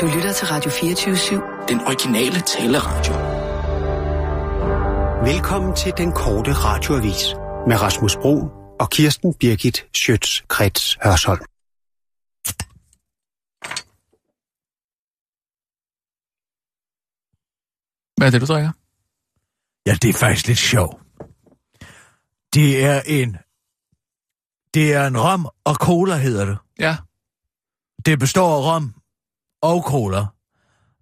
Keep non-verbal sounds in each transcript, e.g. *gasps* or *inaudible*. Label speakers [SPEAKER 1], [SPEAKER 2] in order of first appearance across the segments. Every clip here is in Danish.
[SPEAKER 1] Du lytter til Radio 24-7.
[SPEAKER 2] Den originale taleradio.
[SPEAKER 3] Velkommen til den korte radioavis med Rasmus Bro og Kirsten Birgit Schøtz-Krets Hørsholm.
[SPEAKER 4] Hvad er det, du drikker?
[SPEAKER 5] Ja, det er faktisk lidt sjovt. Det er en... Det er en rom og cola, hedder det.
[SPEAKER 4] Ja.
[SPEAKER 5] Det består af rom og cola.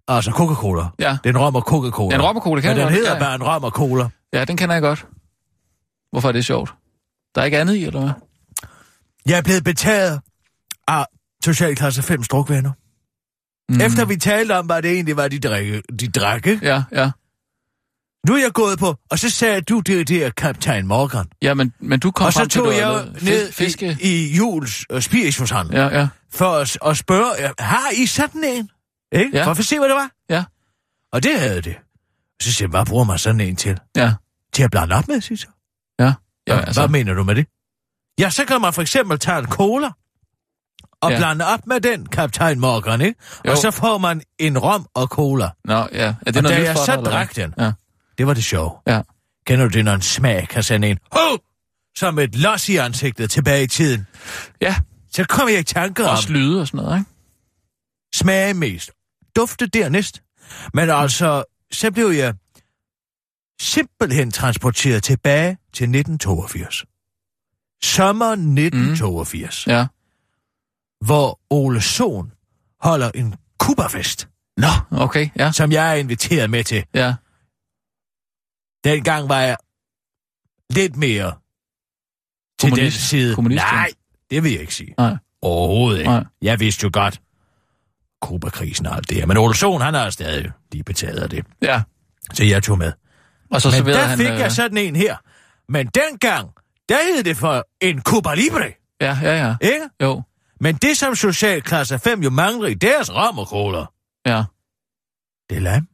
[SPEAKER 5] Altså Coca-Cola.
[SPEAKER 4] Ja.
[SPEAKER 5] Det er en rom og Coca-Cola.
[SPEAKER 4] En rom og cola, kan
[SPEAKER 5] Men
[SPEAKER 4] jeg godt.
[SPEAKER 5] den hedder
[SPEAKER 4] ja, ja.
[SPEAKER 5] bare en rom og cola.
[SPEAKER 4] ja, den kender jeg godt. Hvorfor er det sjovt? Der er ikke andet i, eller hvad?
[SPEAKER 5] Jeg er blevet betaget af Socialklasse 5 drukvenner. Mm. Efter vi talte om, hvad det egentlig var, de, drikke, de drak, ikke?
[SPEAKER 4] Ja, ja.
[SPEAKER 5] Nu er jeg gået på, og så sagde du, det er det er kaptajn Morgan.
[SPEAKER 4] Ja, men, men du kom
[SPEAKER 5] og så
[SPEAKER 4] frem til,
[SPEAKER 5] tog
[SPEAKER 4] at
[SPEAKER 5] jeg
[SPEAKER 4] du
[SPEAKER 5] jo
[SPEAKER 4] havde lavet
[SPEAKER 5] ned
[SPEAKER 4] fis- fiske.
[SPEAKER 5] i, i Jules øh, spiritushandel ja.
[SPEAKER 4] Ja, ja.
[SPEAKER 5] for at, at spørge, ja, har I sådan en? Ikke?
[SPEAKER 4] Ja.
[SPEAKER 5] Ja. For at se, hvad det var.
[SPEAKER 4] Ja.
[SPEAKER 5] Og det havde det. Så siger jeg, hvad bruger man sådan en til?
[SPEAKER 4] Ja.
[SPEAKER 5] Til at blande op med, siger jeg.
[SPEAKER 4] Ja,
[SPEAKER 5] Hvad, altså.
[SPEAKER 4] altså,
[SPEAKER 5] hvad mener du med det? Ja, så kan man for eksempel tage en cola og
[SPEAKER 4] Ja.
[SPEAKER 5] ja. blande op med den, kaptajn Morgan, ikke?
[SPEAKER 4] Jo.
[SPEAKER 5] Og så får man en rom og cola.
[SPEAKER 4] nå, ja. Er det
[SPEAKER 5] og
[SPEAKER 4] noget
[SPEAKER 5] da
[SPEAKER 4] nyt
[SPEAKER 5] jeg
[SPEAKER 4] for dig,
[SPEAKER 5] så
[SPEAKER 4] eller hvad?
[SPEAKER 5] drak den,
[SPEAKER 4] Ja.
[SPEAKER 5] det var det sjove.
[SPEAKER 4] Ja.
[SPEAKER 5] Kender du det, når en smag kan sende en ho! Som et los i ansigtet tilbage i tiden.
[SPEAKER 4] Ja,
[SPEAKER 5] Så kom jeg i tanker om
[SPEAKER 4] også lyde og sådan noget, ikke?
[SPEAKER 5] smage mest, dufte dernæst. Men altså, så blev jeg simpelthen transporteret tilbage til 1982. Sommer 1982, mm.
[SPEAKER 4] Ja.
[SPEAKER 5] hvor Ole Sohn holder en kubafest,
[SPEAKER 4] Nå, okay, ja,
[SPEAKER 5] som jeg er inviteret med til.
[SPEAKER 4] ja.
[SPEAKER 5] Dengang var jeg lidt mere til den
[SPEAKER 4] Kommunist.
[SPEAKER 5] side.
[SPEAKER 4] Kommunist, ja.
[SPEAKER 5] Nej, det vil jeg ikke sige.
[SPEAKER 4] Nej.
[SPEAKER 5] Overhovedet ikke.
[SPEAKER 4] Nej.
[SPEAKER 5] Nej. Jeg vidste jo godt, Kuba-krisen og alt det her. Men Ole Sohn, han er stadig lige betaget af det.
[SPEAKER 4] Ja,
[SPEAKER 5] Så jeg tog med.
[SPEAKER 4] og så
[SPEAKER 5] Men
[SPEAKER 4] serverede
[SPEAKER 5] der
[SPEAKER 4] han...
[SPEAKER 5] fik
[SPEAKER 4] øh,
[SPEAKER 5] jeg sådan en her. Men dengang, der hed det for en Cuba Libre,
[SPEAKER 4] Ja, ja, ja.
[SPEAKER 5] ikke?
[SPEAKER 4] Jo,
[SPEAKER 5] Men det, som socialklasse 5 jo mangler i deres rammerkoler,
[SPEAKER 4] ja.
[SPEAKER 5] det er lam.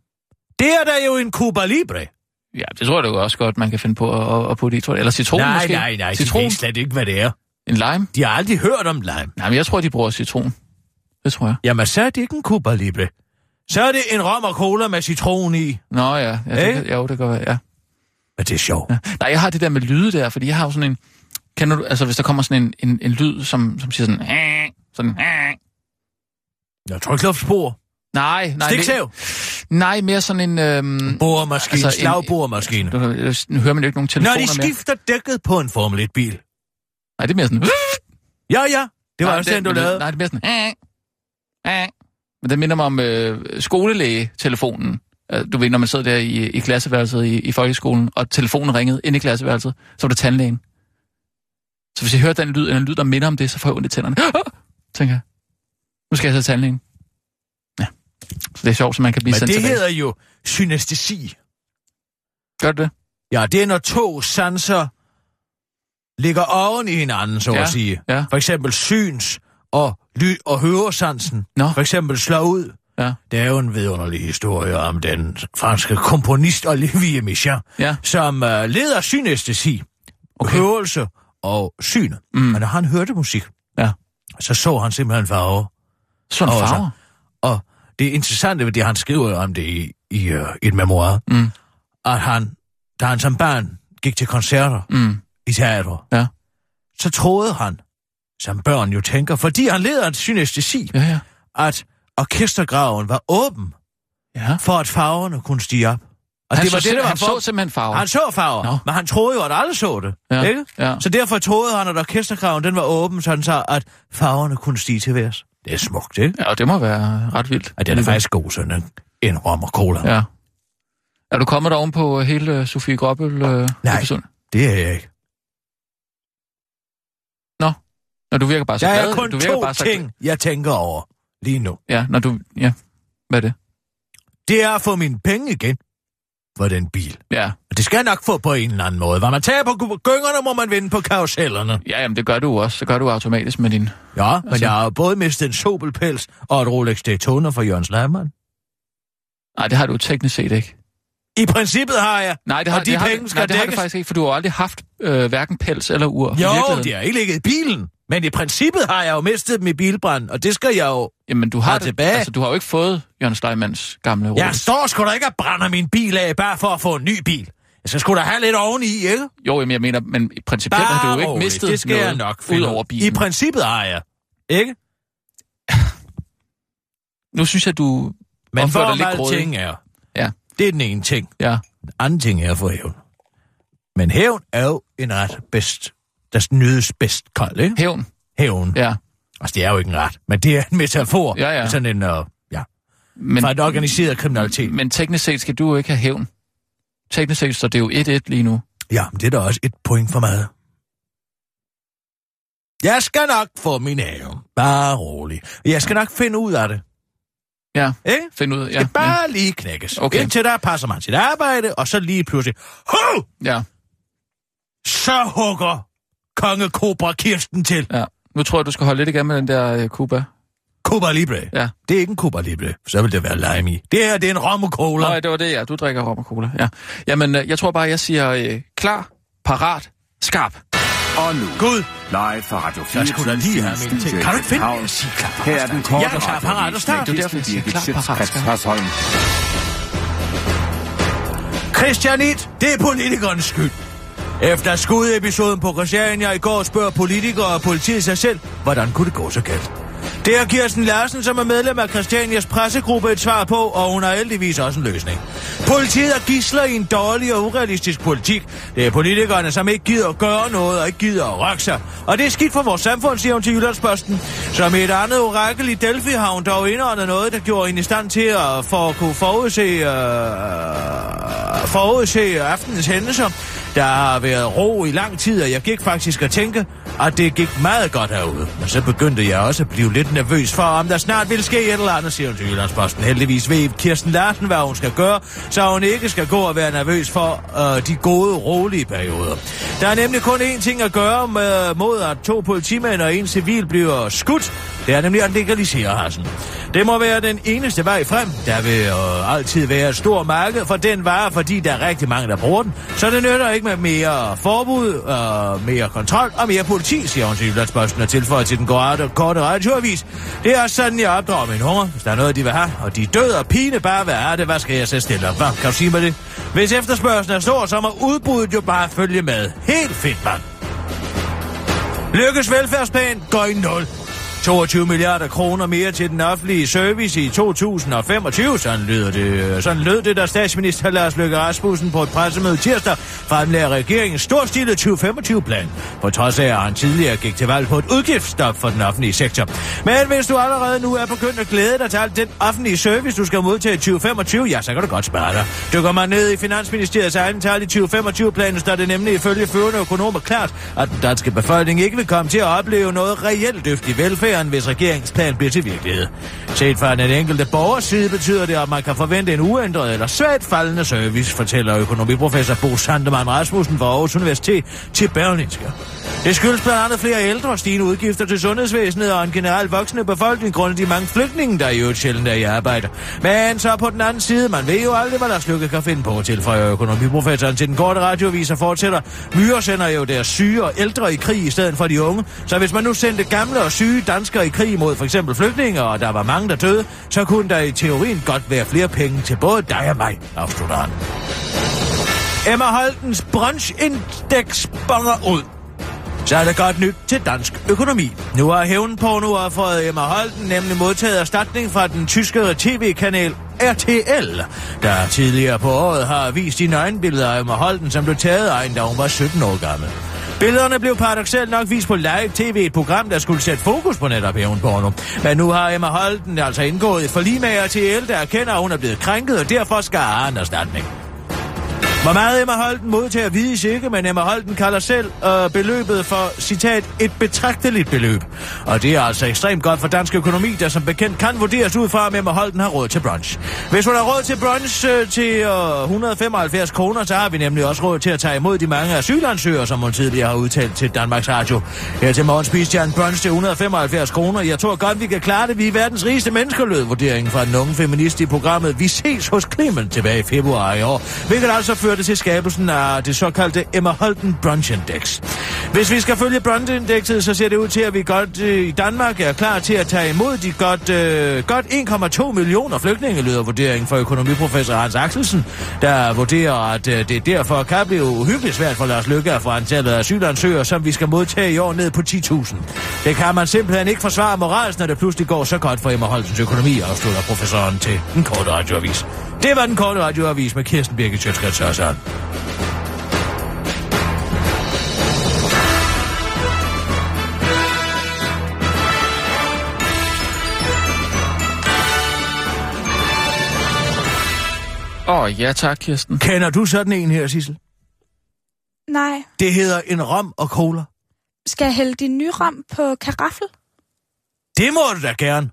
[SPEAKER 5] Det er der jo en Cuba Libre.
[SPEAKER 4] Ja, det tror jeg da også godt, man kan finde på at, at, at putte i, tror jeg. Eller citron
[SPEAKER 5] nej,
[SPEAKER 4] måske.
[SPEAKER 5] nej, nej, de
[SPEAKER 4] Citron,
[SPEAKER 5] ved slet ikke, hvad det er.
[SPEAKER 4] en lime.
[SPEAKER 5] De har aldrig hørt om lime.
[SPEAKER 4] Nej, men jeg tror, de bruger citron. Det tror jeg.
[SPEAKER 5] Jamen, så er det ikke en Cuba Libre. Så er det en rom og cola med citron i.
[SPEAKER 4] Nå ja, ja det,
[SPEAKER 5] Ikke?
[SPEAKER 4] kan- jo, det kan være, ja.
[SPEAKER 5] Men det er sjovt.
[SPEAKER 4] Ja. Nej, jeg har det der med lyde der, fordi jeg har jo sådan en... Kender du, altså hvis der kommer sådan en, en, en lyd, som, som siger sådan... "Æh", Sådan... "Æh".
[SPEAKER 5] Jeg tror ikke, luftspor.
[SPEAKER 4] Nej, nej,
[SPEAKER 5] Stiksav.
[SPEAKER 4] mere, nej, mere sådan en... Øhm,
[SPEAKER 5] Boremaskine.
[SPEAKER 4] Altså,
[SPEAKER 5] Altså,
[SPEAKER 4] en-
[SPEAKER 5] slagboremaskine.
[SPEAKER 4] nu, nu hører man jo ikke nogen
[SPEAKER 5] Når
[SPEAKER 4] telefoner
[SPEAKER 5] de
[SPEAKER 4] mere.
[SPEAKER 5] skifter dækket på en Formel 1-bil.
[SPEAKER 4] Nej, det er mere sådan...
[SPEAKER 5] Ja, ja. Det var
[SPEAKER 4] nej,
[SPEAKER 5] også den, du
[SPEAKER 4] men det-
[SPEAKER 5] lavede.
[SPEAKER 4] Nej, det er mere sådan... "Æh, æh." Men det minder mig om øh, skolelægetelefonen. Øh, Du ved, når man sidder der i, i klasseværelset i, i folkeskolen, og telefonen ringede ind i klasseværelset, så var det tandlægen. Så hvis jeg hører den lyd, eller en lyd, der minder om det, så får jeg ondt i tænderne. *gasps* Ah! Tænker jeg. Nu skal jeg så til tandlægen. Ja. Så det er sjovt, så man kan blive
[SPEAKER 5] Men
[SPEAKER 4] sendt
[SPEAKER 5] det
[SPEAKER 4] tilbage.
[SPEAKER 5] hedder jo synestesi.
[SPEAKER 4] Gør det det?
[SPEAKER 5] Ja, det er når to sanser ligger oven i hinanden, så ja.
[SPEAKER 4] Ja,
[SPEAKER 5] at sige.
[SPEAKER 4] ja.
[SPEAKER 5] For eksempel syns- og ly- og høresansen.
[SPEAKER 4] Nå.
[SPEAKER 5] For eksempel slår ud.
[SPEAKER 4] Ja.
[SPEAKER 5] Der er jo en vidunderlig historie om den franske komponist Olivier Michin,
[SPEAKER 4] Ja.
[SPEAKER 5] som uh, leder synestesi,
[SPEAKER 4] Okay.
[SPEAKER 5] okay. hørelse og syne. Mm. Men når han hørte musik,
[SPEAKER 4] Ja.
[SPEAKER 5] så så han simpelthen farver.
[SPEAKER 4] Sådan
[SPEAKER 5] Og så-
[SPEAKER 4] farver.
[SPEAKER 5] Og det interessante ved det, han skriver om det i, i øh, et memoir,
[SPEAKER 4] Mm.
[SPEAKER 5] at han, da han som barn gik til koncerter
[SPEAKER 4] Mm.
[SPEAKER 5] i teater,
[SPEAKER 4] Ja.
[SPEAKER 5] så troede han, som børn jo tænker, fordi han leder en synestesi,
[SPEAKER 4] Ja, ja.
[SPEAKER 5] at orkestergraven var åben,
[SPEAKER 4] ja.
[SPEAKER 5] for at farverne kunne stige op. Og
[SPEAKER 4] Han,
[SPEAKER 5] det var
[SPEAKER 4] så,
[SPEAKER 5] det, der var
[SPEAKER 4] han så
[SPEAKER 5] for...
[SPEAKER 4] simpelthen farver.
[SPEAKER 5] Han så farver,
[SPEAKER 4] Nå.
[SPEAKER 5] men han troede jo, at alle så det.
[SPEAKER 4] Ja,
[SPEAKER 5] Ikke?
[SPEAKER 4] ja.
[SPEAKER 5] Så derfor troede han, at orkestergraven den var åben, sådan så at farverne kunne stige til værs. Det er smukt, ikke?
[SPEAKER 4] Ja, og det må være ret vildt.
[SPEAKER 5] At den er faktisk god, sådan en, en rom og cola. Ja.
[SPEAKER 4] Ja. Er du kommet oven på hele øh, Sofie Gråbøl? Øh,
[SPEAKER 5] Nej.
[SPEAKER 4] episoden?
[SPEAKER 5] Det er jeg ikke.
[SPEAKER 4] Nå, du virker bare så
[SPEAKER 5] Der
[SPEAKER 4] glad.
[SPEAKER 5] er kun
[SPEAKER 4] Altså, du virker
[SPEAKER 5] to
[SPEAKER 4] bare så glad.
[SPEAKER 5] ting, jeg tænker over lige nu.
[SPEAKER 4] Ja, når du... Ja. Hvad er det?
[SPEAKER 5] Det er at få mine penge igen for den bil.
[SPEAKER 4] Ja.
[SPEAKER 5] Og det skal jeg nok få på en eller anden måde. Hvad man tager på gu- gyngerne, må man vinde på karusellerne.
[SPEAKER 4] Ja, jamen, det gør du jo også. Det gør du automatisk med din...
[SPEAKER 5] Ja, men
[SPEAKER 4] Altså-
[SPEAKER 5] jeg har jo både mistet en sobelpels og et Rolex Daytona fra Jørgens Lærmann.
[SPEAKER 4] Nej, det har du teknisk set ikke.
[SPEAKER 5] I princippet har jeg.
[SPEAKER 4] Nej, det har,
[SPEAKER 5] og de
[SPEAKER 4] det har,
[SPEAKER 5] penge
[SPEAKER 4] nej,
[SPEAKER 5] skal
[SPEAKER 4] det har du
[SPEAKER 5] dækkes.
[SPEAKER 4] faktisk ikke, for du har aldrig haft øh, hverken pels eller ur. i
[SPEAKER 5] Jo,
[SPEAKER 4] virkeligheden.
[SPEAKER 5] det har ikke ligget i bilen. Men Men i princippet har jeg jo mistet dem i bilbrand, og det skal jeg jo...
[SPEAKER 4] Jamen, du
[SPEAKER 5] Og
[SPEAKER 4] har, det,
[SPEAKER 5] tilbage.
[SPEAKER 4] Altså, du har jo ikke fået Jørgen Steinmanns gamle ros.
[SPEAKER 5] Jeg står sgu da ikke og brænder min bil af, bare for at få en ny bil. Jeg skal sgu da have lidt oveni, ikke?
[SPEAKER 4] Jo, jamen, jeg mener, men i princippet
[SPEAKER 5] Bare
[SPEAKER 4] har du jo ikke
[SPEAKER 5] roligt,
[SPEAKER 4] mistet
[SPEAKER 5] det skal
[SPEAKER 4] noget
[SPEAKER 5] jeg nok
[SPEAKER 4] ud
[SPEAKER 5] finde
[SPEAKER 4] over
[SPEAKER 5] ud. I
[SPEAKER 4] bilen.
[SPEAKER 5] princippet har jeg. Ikke?
[SPEAKER 4] nu synes jeg, du...
[SPEAKER 5] Men
[SPEAKER 4] Opfører
[SPEAKER 5] hvor
[SPEAKER 4] dig lidt
[SPEAKER 5] meget
[SPEAKER 4] grådig.
[SPEAKER 5] ting er.
[SPEAKER 4] Ja.
[SPEAKER 5] Det er den ene ting.
[SPEAKER 4] Ja,
[SPEAKER 5] Den anden ting er at få hævn. Men hævn er jo en ret bedst. Der nydes bedst kold, ikke?
[SPEAKER 4] hævn.
[SPEAKER 5] Hævn. Ja.
[SPEAKER 4] Ja,
[SPEAKER 5] Altså, det er jo ikke en ret, men det er en metafor.
[SPEAKER 4] Ja, ja.
[SPEAKER 5] Sådan en, uh, ja.
[SPEAKER 4] men,
[SPEAKER 5] Fra et organiseret kriminalitet.
[SPEAKER 4] men teknisk set skal du jo ikke have hævn. Teknisk set står det jo 1-1 lige nu.
[SPEAKER 5] Ja, men det er da også et point for meget. Jeg skal nok få min have. Bare rolig. Jeg skal nok finde ud af det.
[SPEAKER 4] Ja,
[SPEAKER 5] Ikke?
[SPEAKER 4] find ud af...
[SPEAKER 5] Ja,
[SPEAKER 4] Ja,
[SPEAKER 5] det bare lige knækkes.
[SPEAKER 4] Okay.
[SPEAKER 5] Indtil der passer man sit arbejde, og så lige pludselig... Hov!
[SPEAKER 4] ja,
[SPEAKER 5] Så hugger konge Cobra Kirsten til.
[SPEAKER 4] ja. Nu tror jeg, du skal holde lidt igen med den der øh, Cuba.
[SPEAKER 5] Cuba Libre.
[SPEAKER 4] Ja.
[SPEAKER 5] Det er ikke en Cuba Libre. Så vil det være lime i. Det her, det er en rom og cola.
[SPEAKER 4] Nej, det var det, ja. Du drikker rom og cola. Ja. Jamen, øh, jeg tror bare, jeg siger øh, klar, parat, skarp.
[SPEAKER 2] Og nu,
[SPEAKER 5] Gud,
[SPEAKER 2] live fra Radio 4.
[SPEAKER 5] Jeg skulle da lige have min ting. Kan du ikke finde den? Sig klar, parat,
[SPEAKER 2] Her er den
[SPEAKER 5] start.
[SPEAKER 2] korte
[SPEAKER 5] Ja, klar, parat,
[SPEAKER 2] radioavis med
[SPEAKER 5] start.
[SPEAKER 4] Det er derfor, jeg siger
[SPEAKER 2] Kirsten
[SPEAKER 4] klar,
[SPEAKER 2] Birgit
[SPEAKER 4] parat,
[SPEAKER 2] Schøtzgrads
[SPEAKER 4] start.
[SPEAKER 2] Hasholm.
[SPEAKER 5] Christian It, det er politikernes skyld. Efter skudepisoden på Christiania i går spørger politikere og politiet sig selv, hvordan kunne det gå så galt? Det har Kirsten Larsen, som er medlem af Christianias pressegruppe, et svar på, og hun har heldigvis også en løsning. Politiet er gisler i en dårlig og urealistisk politik. Det er politikerne, som ikke gider at gøre noget og ikke gider at rokke sig. Og det er skidt for vores samfund, siger hun til Jyllandsposten. Som et andet orakel i Delphi har hun dog indåndet noget, der gjorde hende i stand til at, for at kunne forudse, øh, forudse aftenens hændelser. Der har været ro i lang tid, og jeg gik faktisk at tænke, at det gik meget godt herude. Men så begyndte jeg også at blive lidt nervøs for, om der snart ville ske et eller andet, siger hun til Jyllandsposten. Heldigvis ved Kirsten Larsen, hvad hun skal gøre, så hun ikke skal gå og være nervøs for øh, de gode, rolige perioder. Der er nemlig kun én ting at gøre med, mod, at to politimænd og en civil bliver skudt. Det er nemlig at legalisere hassen. Det må være den eneste vej frem. Der vil øh, altid være et stort marked for den vare, fordi der er rigtig mange, der bruger den. Så det nytter ikke med mere forbud, øh, mere kontrol og mere politi, siger hun til Jyllandsposten og tilføjer til den korte, korte radioavis. Det er sådan, jeg opdrager min hunger. Hvis der er noget, de vil have, og de er døde og pine bare, hvad er det? Hvad skal jeg så stille op? Hvad kan du sige mig det? Hvis efterspørgselen er stor, så må udbuddet jo bare følge med. Helt fedt, mand. Lykkes velfærdsplan går i nul. 22 milliarder kroner mere til den offentlige service i 2025, sådan, lyder det. øh, sådan lød det, da statsminister Lars Løkke Rasmussen på et pressemøde tirsdag fremlagde regeringens storstilet 2025-plan, på trods af, at han tidligere gik til valg på et udgiftsstop for den offentlige sektor. Men hvis du allerede nu er begyndt at glæde dig til alt den offentlige service, du skal modtage i 2025, ja, så kan du godt spare dig. Dykker man ned i Finansministeriets egen tal i 2025-planen, står det nemlig ifølge førende økonomer klart, at den danske befolkning ikke vil komme til at opleve noget reelt løft i velfærden, hvis regeringsplanen bliver til virkelighed. Set fra den enkelte borgers side betyder det, at man kan forvente en uændret eller svært faldende service, fortæller økonomiprofessor Bo Sandemann Rasmussen fra Aarhus Universitet til Berlingske. Det skyldes blandt andet flere ældre, stigende udgifter til sundhedsvæsenet og en generelt voksende befolkning grundet de mange flygtninge, der i øvrigt sjældent er i arbejde. Men så på den anden side, man ved jo aldrig, hvad Lars Lykke kan finde på, tilføjer økonomiprofessoren til den korte radioavis og fortsætter. Myrer sender jo deres syge og ældre i krig i stedet for de unge, så hvis man nu sendte gamle og syge danskere i krig mod for eksempel flygtninge, og der var mange, der døde, så kunne der i teorien godt være flere penge til både dig og mig, afslutter han. Emma Holtens brunchindex bonger ud. Så er der godt nyt til dansk økonomi. Nu har hævnpornoafferet Emma Holten nemlig modtaget erstatning fra den tyske tv-kanal RTL, der tidligere på året har vist de nøgenbilleder af Emma Holten, som blev taget af hende, da hun var 17 år gammel. Billederne blev paradoxalt nok vist på live tv, et program, der skulle sætte fokus på netop hævnporno. Men nu har Emma Holten altså indgået et forlig med RTL, der erkender, at hun er blevet krænket, og derfor skal have en erstatning. Hvor meget Emma Holten modtager vides ikke, men Emma Holten kalder selv øh, beløbet for, citat, et betragteligt beløb. Og det er altså ekstremt godt for dansk økonomi, der som bekendt kan vurderes ud fra, om Emma Holten har råd til brunch. Hvis hun har råd til brunch øh, til øh, 175 kroner, så har vi nemlig også råd til at tage imod de mange asylansøgere, som hun tidligere har udtalt til Danmarks Radio. Her til morgen spiste jeg en brunch til 175 kroner. Jeg tror godt, vi kan klare det. Vi er verdens rigeste mennesker, lød vurderingen fra den unge feminist i programmet Vi ses hos Clement tilbage i februar i år. Hvilket altså fører førte til skabelsen af det såkaldte Emma Holten Brunch Index. Hvis vi skal følge Brunch Indexet, så ser det ud til, at vi godt øh, i Danmark er klar til at tage imod de godt, øh, godt 1,2 millioner flygtninge, lyder vurderingen for økonomiprofessor Hans Axelsen, der vurderer, at øh, det derfor kan blive uhyggeligt svært for Lars Lykke at få antallet af asylansøgere, som vi skal modtage i år ned på 10.000. Det kan man simpelthen ikke forsvare moralsk, når det pludselig går så godt for Emma Holtens økonomi, afslutter professoren til den korte radioavis. Det var den korte radioavis med Kirsten Birgit Sjøtskrets Sørensen.
[SPEAKER 4] Åh, oh, ja tak, Kirsten.
[SPEAKER 5] Kender du sådan en her, Sissel?
[SPEAKER 6] Nej.
[SPEAKER 5] Det hedder en rom og cola.
[SPEAKER 6] Skal jeg hælde din nye rom på karaffel?
[SPEAKER 5] Det må du da gerne.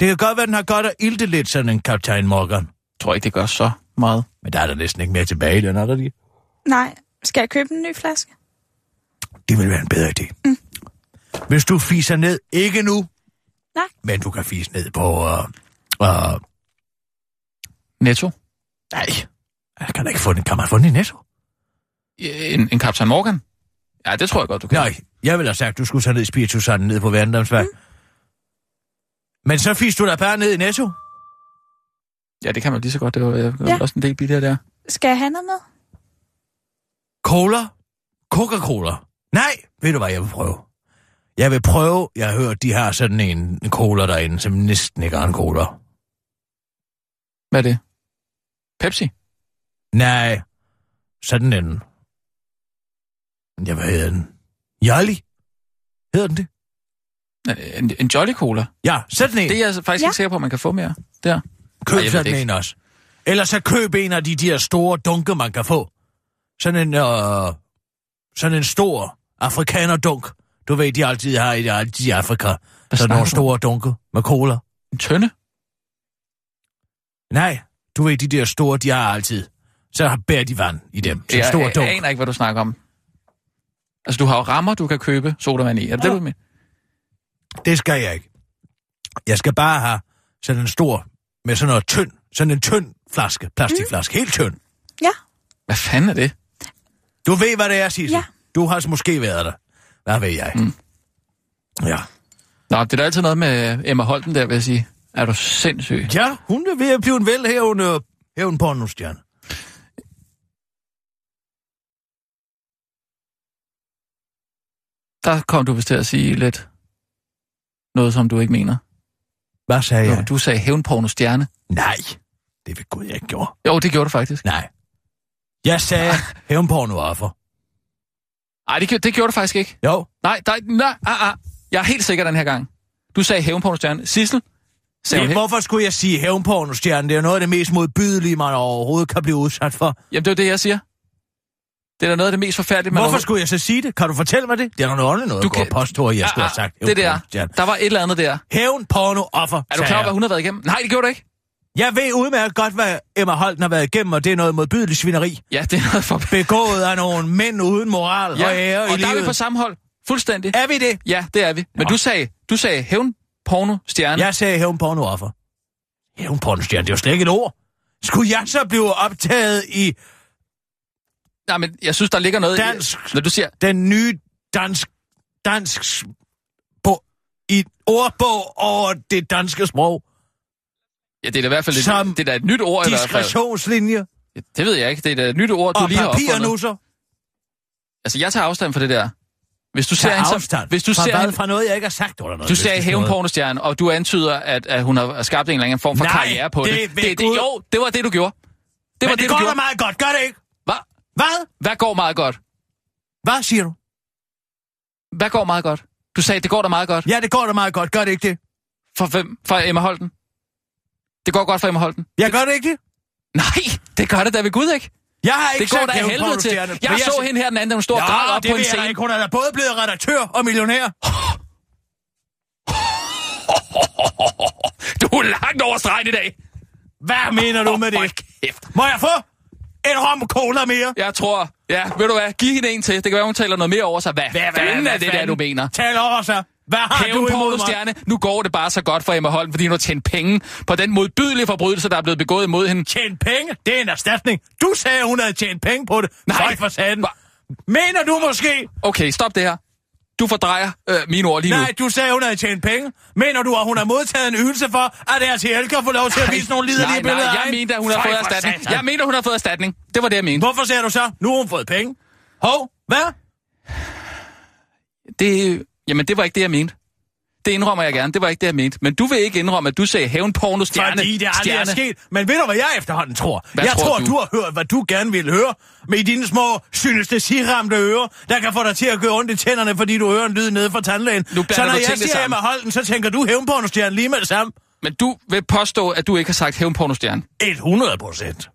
[SPEAKER 5] Det kan godt være, den har godt at ilte lidt, sådan en kaptajn Morgan.
[SPEAKER 4] Jeg tror ikke, det gør så meget.
[SPEAKER 5] Men der er der næsten ikke mere tilbage i den, er der lige?
[SPEAKER 6] Nej. Skal jeg købe en ny flaske?
[SPEAKER 5] Det vil være en bedre idé. Mm. Hvis du fiser ned, ikke nu,
[SPEAKER 6] Nej.
[SPEAKER 5] men du kan fise ned på... Uh, uh,
[SPEAKER 4] Netto?
[SPEAKER 5] nej, jeg kan da ikke få den. Kan man få den i netto?
[SPEAKER 4] En, en Captain Morgan? Ja, det tror jeg godt, du kan.
[SPEAKER 5] Nej, jeg ville have sagt, du skulle tage ned i Spiritusanden ned på Vandomsvej. Mm. Men så fiser du da bare ned i netto.
[SPEAKER 4] Ja, det kan man lige så godt. Det var, det var
[SPEAKER 6] Ja.
[SPEAKER 4] ja. også en del billigere der.
[SPEAKER 6] Skal jeg have noget med?
[SPEAKER 5] Cola? Coca-Cola? Nej, ved du hvad, jeg vil prøve. Jeg vil prøve, jeg har hørt, de har sådan en en cola derinde, som næsten ikke er en cola.
[SPEAKER 4] Hvad er det? Pepsi?
[SPEAKER 5] Nej, sådan en... Ja, hvad hedder den? Jolly? Hedder den det?
[SPEAKER 4] Øh, En, en Jolly Cola?
[SPEAKER 5] Ja, sådan en.
[SPEAKER 4] Det er jeg faktisk
[SPEAKER 6] Ja.
[SPEAKER 4] ja. ikke sikker på, at man kan få mere. Der. Ej, jeg
[SPEAKER 5] Køb
[SPEAKER 4] ved
[SPEAKER 5] sådan
[SPEAKER 4] det
[SPEAKER 5] en også. Eller så køb en af de der store dunke, man kan få. Sådan en, øh, sådan en stor afrikanerdunk. Du ved, de altid har i, altid i Afrika. Sådan
[SPEAKER 4] snakker
[SPEAKER 5] nogle
[SPEAKER 4] du
[SPEAKER 5] store dunke med cola.
[SPEAKER 4] En tønde?
[SPEAKER 5] Nej, du ved, de der store, de har altid. Så bærer de vand i dem. Så
[SPEAKER 4] jeg,
[SPEAKER 5] stor
[SPEAKER 4] jeg,
[SPEAKER 5] dunk.
[SPEAKER 4] jeg aner ikke, hvad du snakker om. Altså, du har jo rammer, du kan købe sodavand i. Er det ja. det, du mener?
[SPEAKER 5] Det skal jeg ikke. Jeg skal bare have sådan en stor, med sådan noget tynd, sådan en tynd flaske, plastikflaske, mm. helt tynd.
[SPEAKER 6] Ja.
[SPEAKER 4] Hvad fanden er det?
[SPEAKER 5] Du ved, hvad det er, Sissel.
[SPEAKER 6] Ja.
[SPEAKER 5] Du har måske været der. Hvad ved jeg? Mm. Ja.
[SPEAKER 4] Nå, det er da altid noget med Emma Holten der, vil jeg sige. Er du sindssyg?
[SPEAKER 5] Ja, hun er ved at blive en velhævende hævn pornostjerne.
[SPEAKER 4] Der kom du vist til at sige lidt noget, som du ikke mener.
[SPEAKER 5] Hvad sagde
[SPEAKER 4] Ja. Du sagde hævnporno stjerne.
[SPEAKER 5] Nej, det ved Gud, jeg ikke gjorde.
[SPEAKER 4] Jo, det gjorde du faktisk.
[SPEAKER 5] Nej. Jeg sagde hævnporno-offer.
[SPEAKER 4] Nej, det, gjorde- det gjorde du faktisk ikke.
[SPEAKER 5] Jo,
[SPEAKER 4] Nej, nej, nej, ah, ah. Jeg er helt sikker den her gang. Du sagde hævnporno stjerne. Sissel? Sagde
[SPEAKER 5] det,
[SPEAKER 4] hun, hæv-
[SPEAKER 5] hvorfor skulle jeg sige hævnpornostjerne? Det er jo noget af det mest modbydelige, man overhovedet kan blive udsat for.
[SPEAKER 4] Jamen, det er jo det, jeg siger. Det er da noget af det mest forfærdelige, man
[SPEAKER 5] Hvorfor
[SPEAKER 4] overhovedet-
[SPEAKER 5] skulle jeg så sige det? Kan du fortælle mig det? Det er da noget ordentligt noget, du
[SPEAKER 4] Du
[SPEAKER 5] kan...
[SPEAKER 4] kan-
[SPEAKER 5] påstå, at jeg skulle
[SPEAKER 4] Ah,
[SPEAKER 5] have sagt.
[SPEAKER 4] ah, det der.
[SPEAKER 5] hævnpornostjerne.
[SPEAKER 4] Der var et eller andet der.
[SPEAKER 5] Hævn, porno, offer,
[SPEAKER 4] Er du klar over, hvad hun har været igennem? Nej, det gjorde du ikke.
[SPEAKER 5] Jeg ved udmærket godt, hvad Emma Holten har været igennem, og det er noget modbydeligt svineri.
[SPEAKER 4] Ja, det er noget for...
[SPEAKER 5] Begået af nogle mænd uden moral
[SPEAKER 4] Ja,
[SPEAKER 5] og ære
[SPEAKER 4] og
[SPEAKER 5] i
[SPEAKER 4] der
[SPEAKER 5] livet.
[SPEAKER 4] er vi på samme hold. Fuldstændig.
[SPEAKER 5] Er vi det?
[SPEAKER 4] Ja, det er vi. Men du sagde, du sagde hævn, porno, stjerne.
[SPEAKER 5] Jeg sagde hævn pornooffer. Hævn pornostjerne, det er jo slet ikke et ord. Skulle jeg så blive optaget i
[SPEAKER 4] Nej, men jeg synes, der ligger noget
[SPEAKER 5] Dansk.
[SPEAKER 4] i... Når du siger...
[SPEAKER 5] den nye dansk, dansk s- bo, i ordbog over det danske sprog?
[SPEAKER 4] Ja, det er da i hvert fald
[SPEAKER 5] Som
[SPEAKER 4] et, det er da et nyt ord i hvert fald.
[SPEAKER 5] Diskretionslinje
[SPEAKER 4] Det ved jeg ikke. Det er da et nyt ord, du
[SPEAKER 5] og
[SPEAKER 4] lige har opfundet.
[SPEAKER 5] papirnusser.
[SPEAKER 4] Altså, jeg tager afstand fra det der. Hvis du ser
[SPEAKER 5] Tag
[SPEAKER 4] hende som,
[SPEAKER 5] afstand
[SPEAKER 4] hvis du
[SPEAKER 5] fra,
[SPEAKER 4] ser
[SPEAKER 5] hvad?
[SPEAKER 4] hende,
[SPEAKER 5] fra noget, jeg ikke har sagt eller noget.
[SPEAKER 4] du ser
[SPEAKER 5] Hvis
[SPEAKER 4] hæven
[SPEAKER 5] noget-
[SPEAKER 4] pornostjerne, og du antyder, at, at hun har skabt en eller anden form for
[SPEAKER 5] Nej,
[SPEAKER 4] karriere på
[SPEAKER 5] det
[SPEAKER 4] det.
[SPEAKER 5] er ved
[SPEAKER 4] det, det,
[SPEAKER 5] Gud.
[SPEAKER 4] jo, det var det, du gjorde. Det var
[SPEAKER 5] Men
[SPEAKER 4] det,
[SPEAKER 5] det
[SPEAKER 4] du
[SPEAKER 5] går da
[SPEAKER 4] gjorde.
[SPEAKER 5] meget godt, gør det ikke?
[SPEAKER 4] Hvad?
[SPEAKER 5] Hvad?
[SPEAKER 4] Hvad går meget godt?
[SPEAKER 5] Hvad siger du?
[SPEAKER 4] Hvad går meget godt? Du sagde, det går da meget godt.
[SPEAKER 5] Ja, det går da meget godt, gør det ikke det?
[SPEAKER 4] For hvem? For Emma Holten? Det går godt for Emma Holten.
[SPEAKER 5] Jeg gør det ikke det?
[SPEAKER 4] Nej, det gør det da ved Gud ikke.
[SPEAKER 5] Jeg har ikke
[SPEAKER 4] Det går
[SPEAKER 5] sagt
[SPEAKER 4] da af
[SPEAKER 5] hævn
[SPEAKER 4] helvede til.
[SPEAKER 5] pornostjerne,
[SPEAKER 4] Jeg,
[SPEAKER 5] men
[SPEAKER 4] så hende her den anden, da hun stod og græd
[SPEAKER 5] Ja,
[SPEAKER 4] op
[SPEAKER 5] det
[SPEAKER 4] på en
[SPEAKER 5] ved jeg da
[SPEAKER 4] scene.
[SPEAKER 5] ikke. Hun er da både blevet redaktør og millionær.
[SPEAKER 4] *laughs* Du er langt over stregen i dag.
[SPEAKER 5] Hvad mener du med
[SPEAKER 4] Åh,
[SPEAKER 5] det?
[SPEAKER 4] hold kæft.
[SPEAKER 5] Må jeg få en rom cola mere?
[SPEAKER 4] Jeg tror, ja, ved du hvad, giv hende en til. Det kan være, hun taler noget mere over sig. Hvad, hvad fanden er det der, du mener?
[SPEAKER 5] Tal over sig. Hvad har
[SPEAKER 4] Hævn
[SPEAKER 5] du
[SPEAKER 4] på
[SPEAKER 5] imod
[SPEAKER 4] Aarhus
[SPEAKER 5] mig?
[SPEAKER 4] Stjerne. Nu går det bare så godt for Emma Holm, fordi hun har tjent penge på den modbydelige forbrydelse, der er blevet begået imod hende.
[SPEAKER 5] Tjent penge? Det er en erstatning. Du sagde, hun havde tjent penge på det.
[SPEAKER 4] Nej.
[SPEAKER 5] Føj for satan.
[SPEAKER 4] Hva?
[SPEAKER 5] Mener du måske?
[SPEAKER 4] Okay, stop det her. Du fordrejer øh, mine ord lige nu.
[SPEAKER 5] Nej, du sagde, hun havde tjent penge. Mener du, at hun har modtaget en ydelse for, at deres helger får lov til at vise nogle liderlige
[SPEAKER 4] nej,
[SPEAKER 5] billeder
[SPEAKER 4] nej,
[SPEAKER 5] af
[SPEAKER 4] jeg
[SPEAKER 5] hende?
[SPEAKER 4] mente, at hun har
[SPEAKER 5] Føj
[SPEAKER 4] fået
[SPEAKER 5] for
[SPEAKER 4] erstatning.
[SPEAKER 5] satan.
[SPEAKER 4] Jeg mener, hun har fået erstatning. Det var det, jeg mente.
[SPEAKER 5] Hvorfor sagde du så, nu har hun fået penge? Hov, hvad?
[SPEAKER 4] Det, jamen, det var ikke det, jeg mente. Det indrømmer jeg gerne. Det var ikke det, jeg mente. Men du vil ikke indrømme, at du sagde hævn porno stjerne.
[SPEAKER 5] Fordi det aldrig
[SPEAKER 4] stjerne.
[SPEAKER 5] er sket. Men ved du, hvad jeg efterhånden tror?
[SPEAKER 4] Hvad
[SPEAKER 5] jeg
[SPEAKER 4] tror
[SPEAKER 5] tror,
[SPEAKER 4] du?
[SPEAKER 5] du har hørt, hvad du gerne ville høre. Med dine små synestesiramte ører, der kan få dig til at gøre ondt i tænderne, fordi du hører en lyd nede fra tandlægen.
[SPEAKER 4] Nu blander
[SPEAKER 5] så når
[SPEAKER 4] du
[SPEAKER 5] jeg
[SPEAKER 4] tingene
[SPEAKER 5] siger
[SPEAKER 4] sammen.
[SPEAKER 5] Emma Holden, så tænker du hævnpornostjerne lige med det samme.
[SPEAKER 4] Men du vil påstå, at du ikke har sagt hævn porno stjerne.
[SPEAKER 5] 100 procent.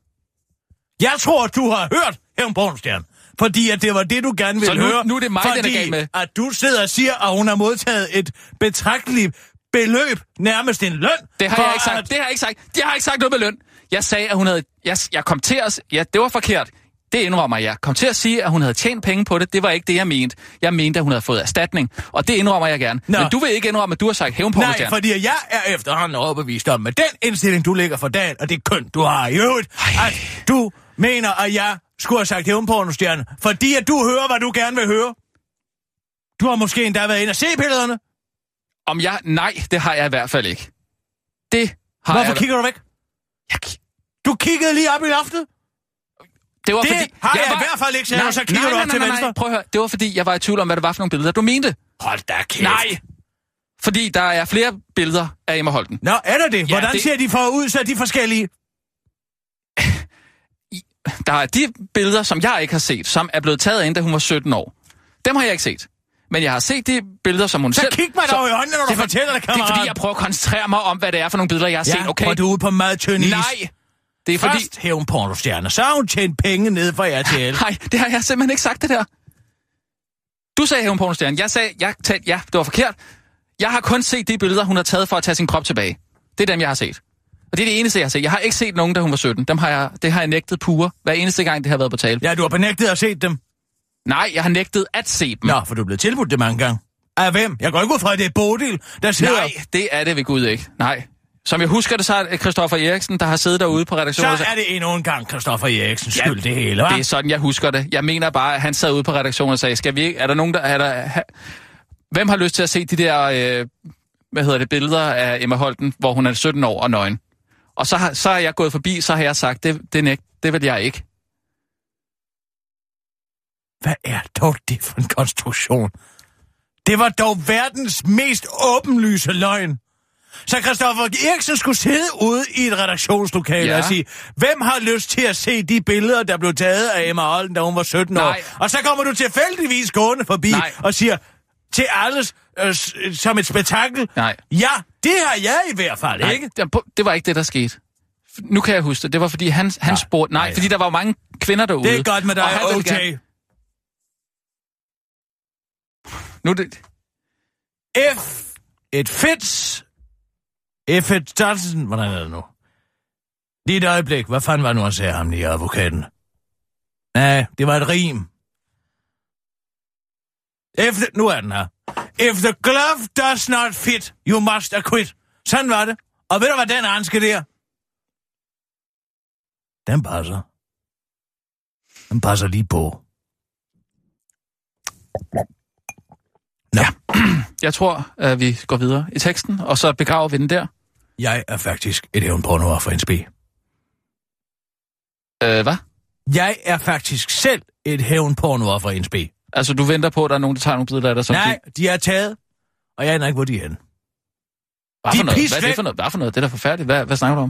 [SPEAKER 5] Jeg tror, du har hørt hævnpornostjerne. Fordi at det var det, du gerne ville
[SPEAKER 4] nu-
[SPEAKER 5] høre.
[SPEAKER 4] nu er det mig, den er
[SPEAKER 5] fordi
[SPEAKER 4] gal med.
[SPEAKER 5] at du sidder og siger, at hun har modtaget et betragteligt beløb, nærmest en løn.
[SPEAKER 4] Det har
[SPEAKER 5] for
[SPEAKER 4] jeg ikke sagt.
[SPEAKER 5] at-
[SPEAKER 4] Det har jeg ikke sagt. Jeg har ikke sagt noget med løn. Jeg sagde, at hun havde... Jeg, jeg kom til at... Ja, det var forkert. Det indrømmer jeg. Kom til at sige, at hun havde tjent penge på det. Det var ikke det, jeg mente. Jeg mente, at hun havde fået erstatning. Og det indrømmer jeg gerne.
[SPEAKER 5] Nå.
[SPEAKER 4] Men du vil ikke indrømme, at du har sagt hævn porno
[SPEAKER 5] Nej,
[SPEAKER 4] stjerne.
[SPEAKER 5] fordi jeg er efterhånden overbevist om, at den indstilling, du lægger for dagen, og det køn, du har i øvrigt, Ej. at du mener, at jeg skulle have sagt hævnpornostjerne, fordi at du hører, hvad du gerne vil høre. Du har måske endda været inde og se billederne.
[SPEAKER 4] Om jeg... Nej, det har jeg i hvert fald ikke. Det har
[SPEAKER 5] Hvorfor
[SPEAKER 4] jeg...
[SPEAKER 5] kigger du væk?
[SPEAKER 4] Jeg ki-
[SPEAKER 5] Du kiggede lige op i loftet.
[SPEAKER 4] Det, var
[SPEAKER 5] Det
[SPEAKER 4] fordi,
[SPEAKER 5] har jeg i hvert fald ikke, sagde
[SPEAKER 4] Nej,
[SPEAKER 5] du, så kigger
[SPEAKER 4] nej,
[SPEAKER 5] du
[SPEAKER 4] nej,
[SPEAKER 5] op
[SPEAKER 4] nej,
[SPEAKER 5] til
[SPEAKER 4] nej,
[SPEAKER 5] venstre.
[SPEAKER 4] Nej, prøv at høre. Det var fordi, jeg var i tvivl om, hvad det var for nogle billeder, du mente.
[SPEAKER 5] Hold da kæft.
[SPEAKER 4] Nej! Fordi der er flere billeder af Emma Holten.
[SPEAKER 5] Nå, er der det? Hvordan
[SPEAKER 4] det-
[SPEAKER 5] ser de for ud, så er de forskellige?
[SPEAKER 4] Der er de billeder, som jeg ikke har set, som er blevet taget ind, da hun var 17 år. Dem har jeg ikke set. Men jeg har set de billeder, som hun
[SPEAKER 5] Så
[SPEAKER 4] selv...
[SPEAKER 5] kig mig dog i øjnene, når du
[SPEAKER 4] Det er for-
[SPEAKER 5] fortæller det,
[SPEAKER 4] Det
[SPEAKER 5] kammerat.
[SPEAKER 4] er fordi, jeg prøver at koncentrere mig om, hvad det er for nogle billeder, jeg har set, okay?
[SPEAKER 5] Ja, og du er ude på meget tynd is.
[SPEAKER 4] Nej! Det er fordi...
[SPEAKER 5] Først hæv en pornostjerne, så har hun tjent penge ned fra RTL.
[SPEAKER 4] Nej, det har jeg simpelthen ikke sagt, det der. Du sagde hævn pornostjerne. Jeg sagde, jeg talte, ja, det var forkert. Jeg har kun set de billeder, hun har taget for at tage sin krop tilbage. Det er dem, jeg har set. Og det er det eneste, jeg har set. Jeg har ikke set nogen, da hun var 17. Dem har jeg, det har jeg nægtet pure, hver eneste gang, det har været på tale. Ja.
[SPEAKER 5] Ja, du har benægtet at se dem.
[SPEAKER 4] Mm. Nej, jeg har nægtet at se dem.
[SPEAKER 5] Nå, for du er blevet tilbudt det mange gange. Af hvem? Jeg går ikke ud fra, at det er Bodil, der sidder...
[SPEAKER 4] Nej, det er det ved Gud ikke. Nej. Som jeg husker det, så er det Christoffer Eriksen, der har siddet derude på redaktionen. og
[SPEAKER 5] Så
[SPEAKER 4] sagt-
[SPEAKER 5] er det endnu en gang Christoffer Eriksens skyld, det hele, hva'?
[SPEAKER 4] Det er sådan, jeg husker det. Jeg mener bare, at han sad ude på redaktionen og sagde, skal vi ikke, er der nogen, der... Er der, ha, hvem har lyst til at se de der, øh, hvad hedder det, billeder af Emma Holten, hvor hun er 17 år og nøgen? Og så har, så er jeg gået forbi, så har jeg sagt, det, det, nægt, det vil jeg ikke.
[SPEAKER 5] Hvad er dog det for en konstruktion? Det var dog verdens mest åbenlyse løgn. Så Christoffer Eriksen skulle sidde ude i et redaktionslokale ja.
[SPEAKER 4] Ja.
[SPEAKER 5] og sige, hvem har lyst til at se de billeder, der blev taget af Emma Olden, da hun var 17 år?
[SPEAKER 4] Nej.
[SPEAKER 5] Og så kommer du tilfældigvis gående forbi
[SPEAKER 4] Nej.
[SPEAKER 5] og siger til alles øh, s- som et spektakel,
[SPEAKER 4] Nej.
[SPEAKER 5] ja, det har jeg i hvert fald,
[SPEAKER 4] Nej,
[SPEAKER 5] ikke?
[SPEAKER 4] det- Det var ikke det, der skete. Nu kan jeg huske det. Det var, fordi han, han spurgte... Nej,
[SPEAKER 5] nej,
[SPEAKER 4] fordi der var jo mange kvinder derude.
[SPEAKER 5] Det er godt med dig,
[SPEAKER 4] og han ville
[SPEAKER 5] OJ.
[SPEAKER 4] gerne- Nu er det,
[SPEAKER 5] F. Et fits. F. Et Dodson. Hvordan er det nu? Lige et øjeblik. Hvad fanden var det nu, han sagde ham lige advokaten? Nej, det var et rim. Efter, nu er den her. If the glove does not fit, you must acquit. Sådan var det. Og ved du, hvad den anske der? Den passer. Den passer lige på.
[SPEAKER 4] jeg tror, at vi går videre i teksten, og så begraver vi den der.
[SPEAKER 5] Jeg er faktisk et hævnporno for en spil.
[SPEAKER 4] Øh, hvad?
[SPEAKER 5] Jeg er faktisk selv et hævnpornooffer i NSB.
[SPEAKER 4] Altså, du venter på, at der er nogen, der tager nogle billeder af dig, som
[SPEAKER 5] Nej,
[SPEAKER 4] du...
[SPEAKER 5] de er taget, og jeg aner ikke, hvor de er henne.
[SPEAKER 4] Hvad for
[SPEAKER 5] de er
[SPEAKER 4] noget? Hvad er
[SPEAKER 5] pisvæk.
[SPEAKER 4] det for noget? Hvad for noget? Det er da forfærdeligt. Hvad, hvad snakker du om?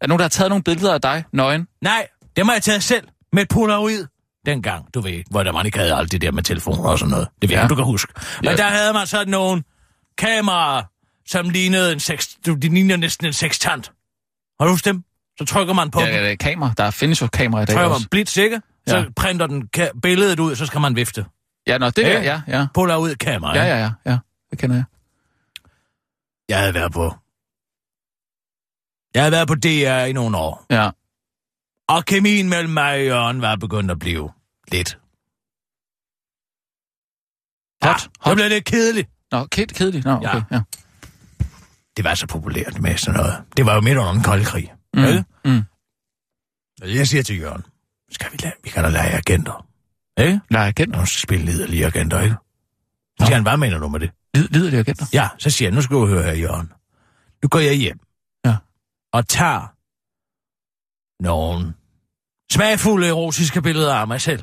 [SPEAKER 4] Er der nogen, der har taget nogle billeder af dig, nøgen?
[SPEAKER 5] Nej, dem har jeg taget selv med et polaroid. Dengang, du ved, hvor der man ikke havde alt det der med telefoner og sådan noget. Det ved jeg,
[SPEAKER 4] Ja.
[SPEAKER 5] ja. du kan huske. Men
[SPEAKER 4] Ja.
[SPEAKER 5] der havde man sådan nogle kameraer, som lignede en seks... De ligner næsten en sekstant. Har du husket dem? Så trykker man på
[SPEAKER 4] Ja,
[SPEAKER 5] ja,
[SPEAKER 4] ja, det er kamera. Der findes jo kamera i dag
[SPEAKER 5] trykker man
[SPEAKER 4] også.
[SPEAKER 5] blitz, ikke? Så
[SPEAKER 4] Ja.
[SPEAKER 5] printer den ka- billedet ud, så skal man vifte.
[SPEAKER 4] Ja, nå, det
[SPEAKER 5] Ja.
[SPEAKER 4] ja. ja, ja.
[SPEAKER 5] Polaroid kamera.
[SPEAKER 4] Ja, ja, ja, ja. Det kender jeg.
[SPEAKER 5] Jeg havde været på... Jeg havde været på DR i nogle år.
[SPEAKER 4] Ja.
[SPEAKER 5] Og kemien mellem mig og Jørgen var begyndt at blive lidt.
[SPEAKER 4] Hot,
[SPEAKER 5] Ja,
[SPEAKER 4] hot.
[SPEAKER 5] det blev lidt kedeligt.
[SPEAKER 4] Nå, ked, kedelig. Nå, okay. Ja.
[SPEAKER 5] Det var så populært med sådan noget. Det var jo midt under den kolde krig. Mm. Ikke?
[SPEAKER 4] Mm. Mm.
[SPEAKER 5] Og Jeg siger til Jørgen, skal vi, lade, vi kan da lege agenter. Ikke?
[SPEAKER 4] Nej, agenter.
[SPEAKER 5] Nogle spillederlige agenter, ikke? Så siger han, hvad mener du med det?
[SPEAKER 4] Lid, lider de agenter?
[SPEAKER 5] Ja, så siger jeg, nu skal du høre her, Jørgen. Nu går jeg hjem.
[SPEAKER 4] Ja.
[SPEAKER 5] Og tager nogle smagfulde erotiske billeder af mig selv.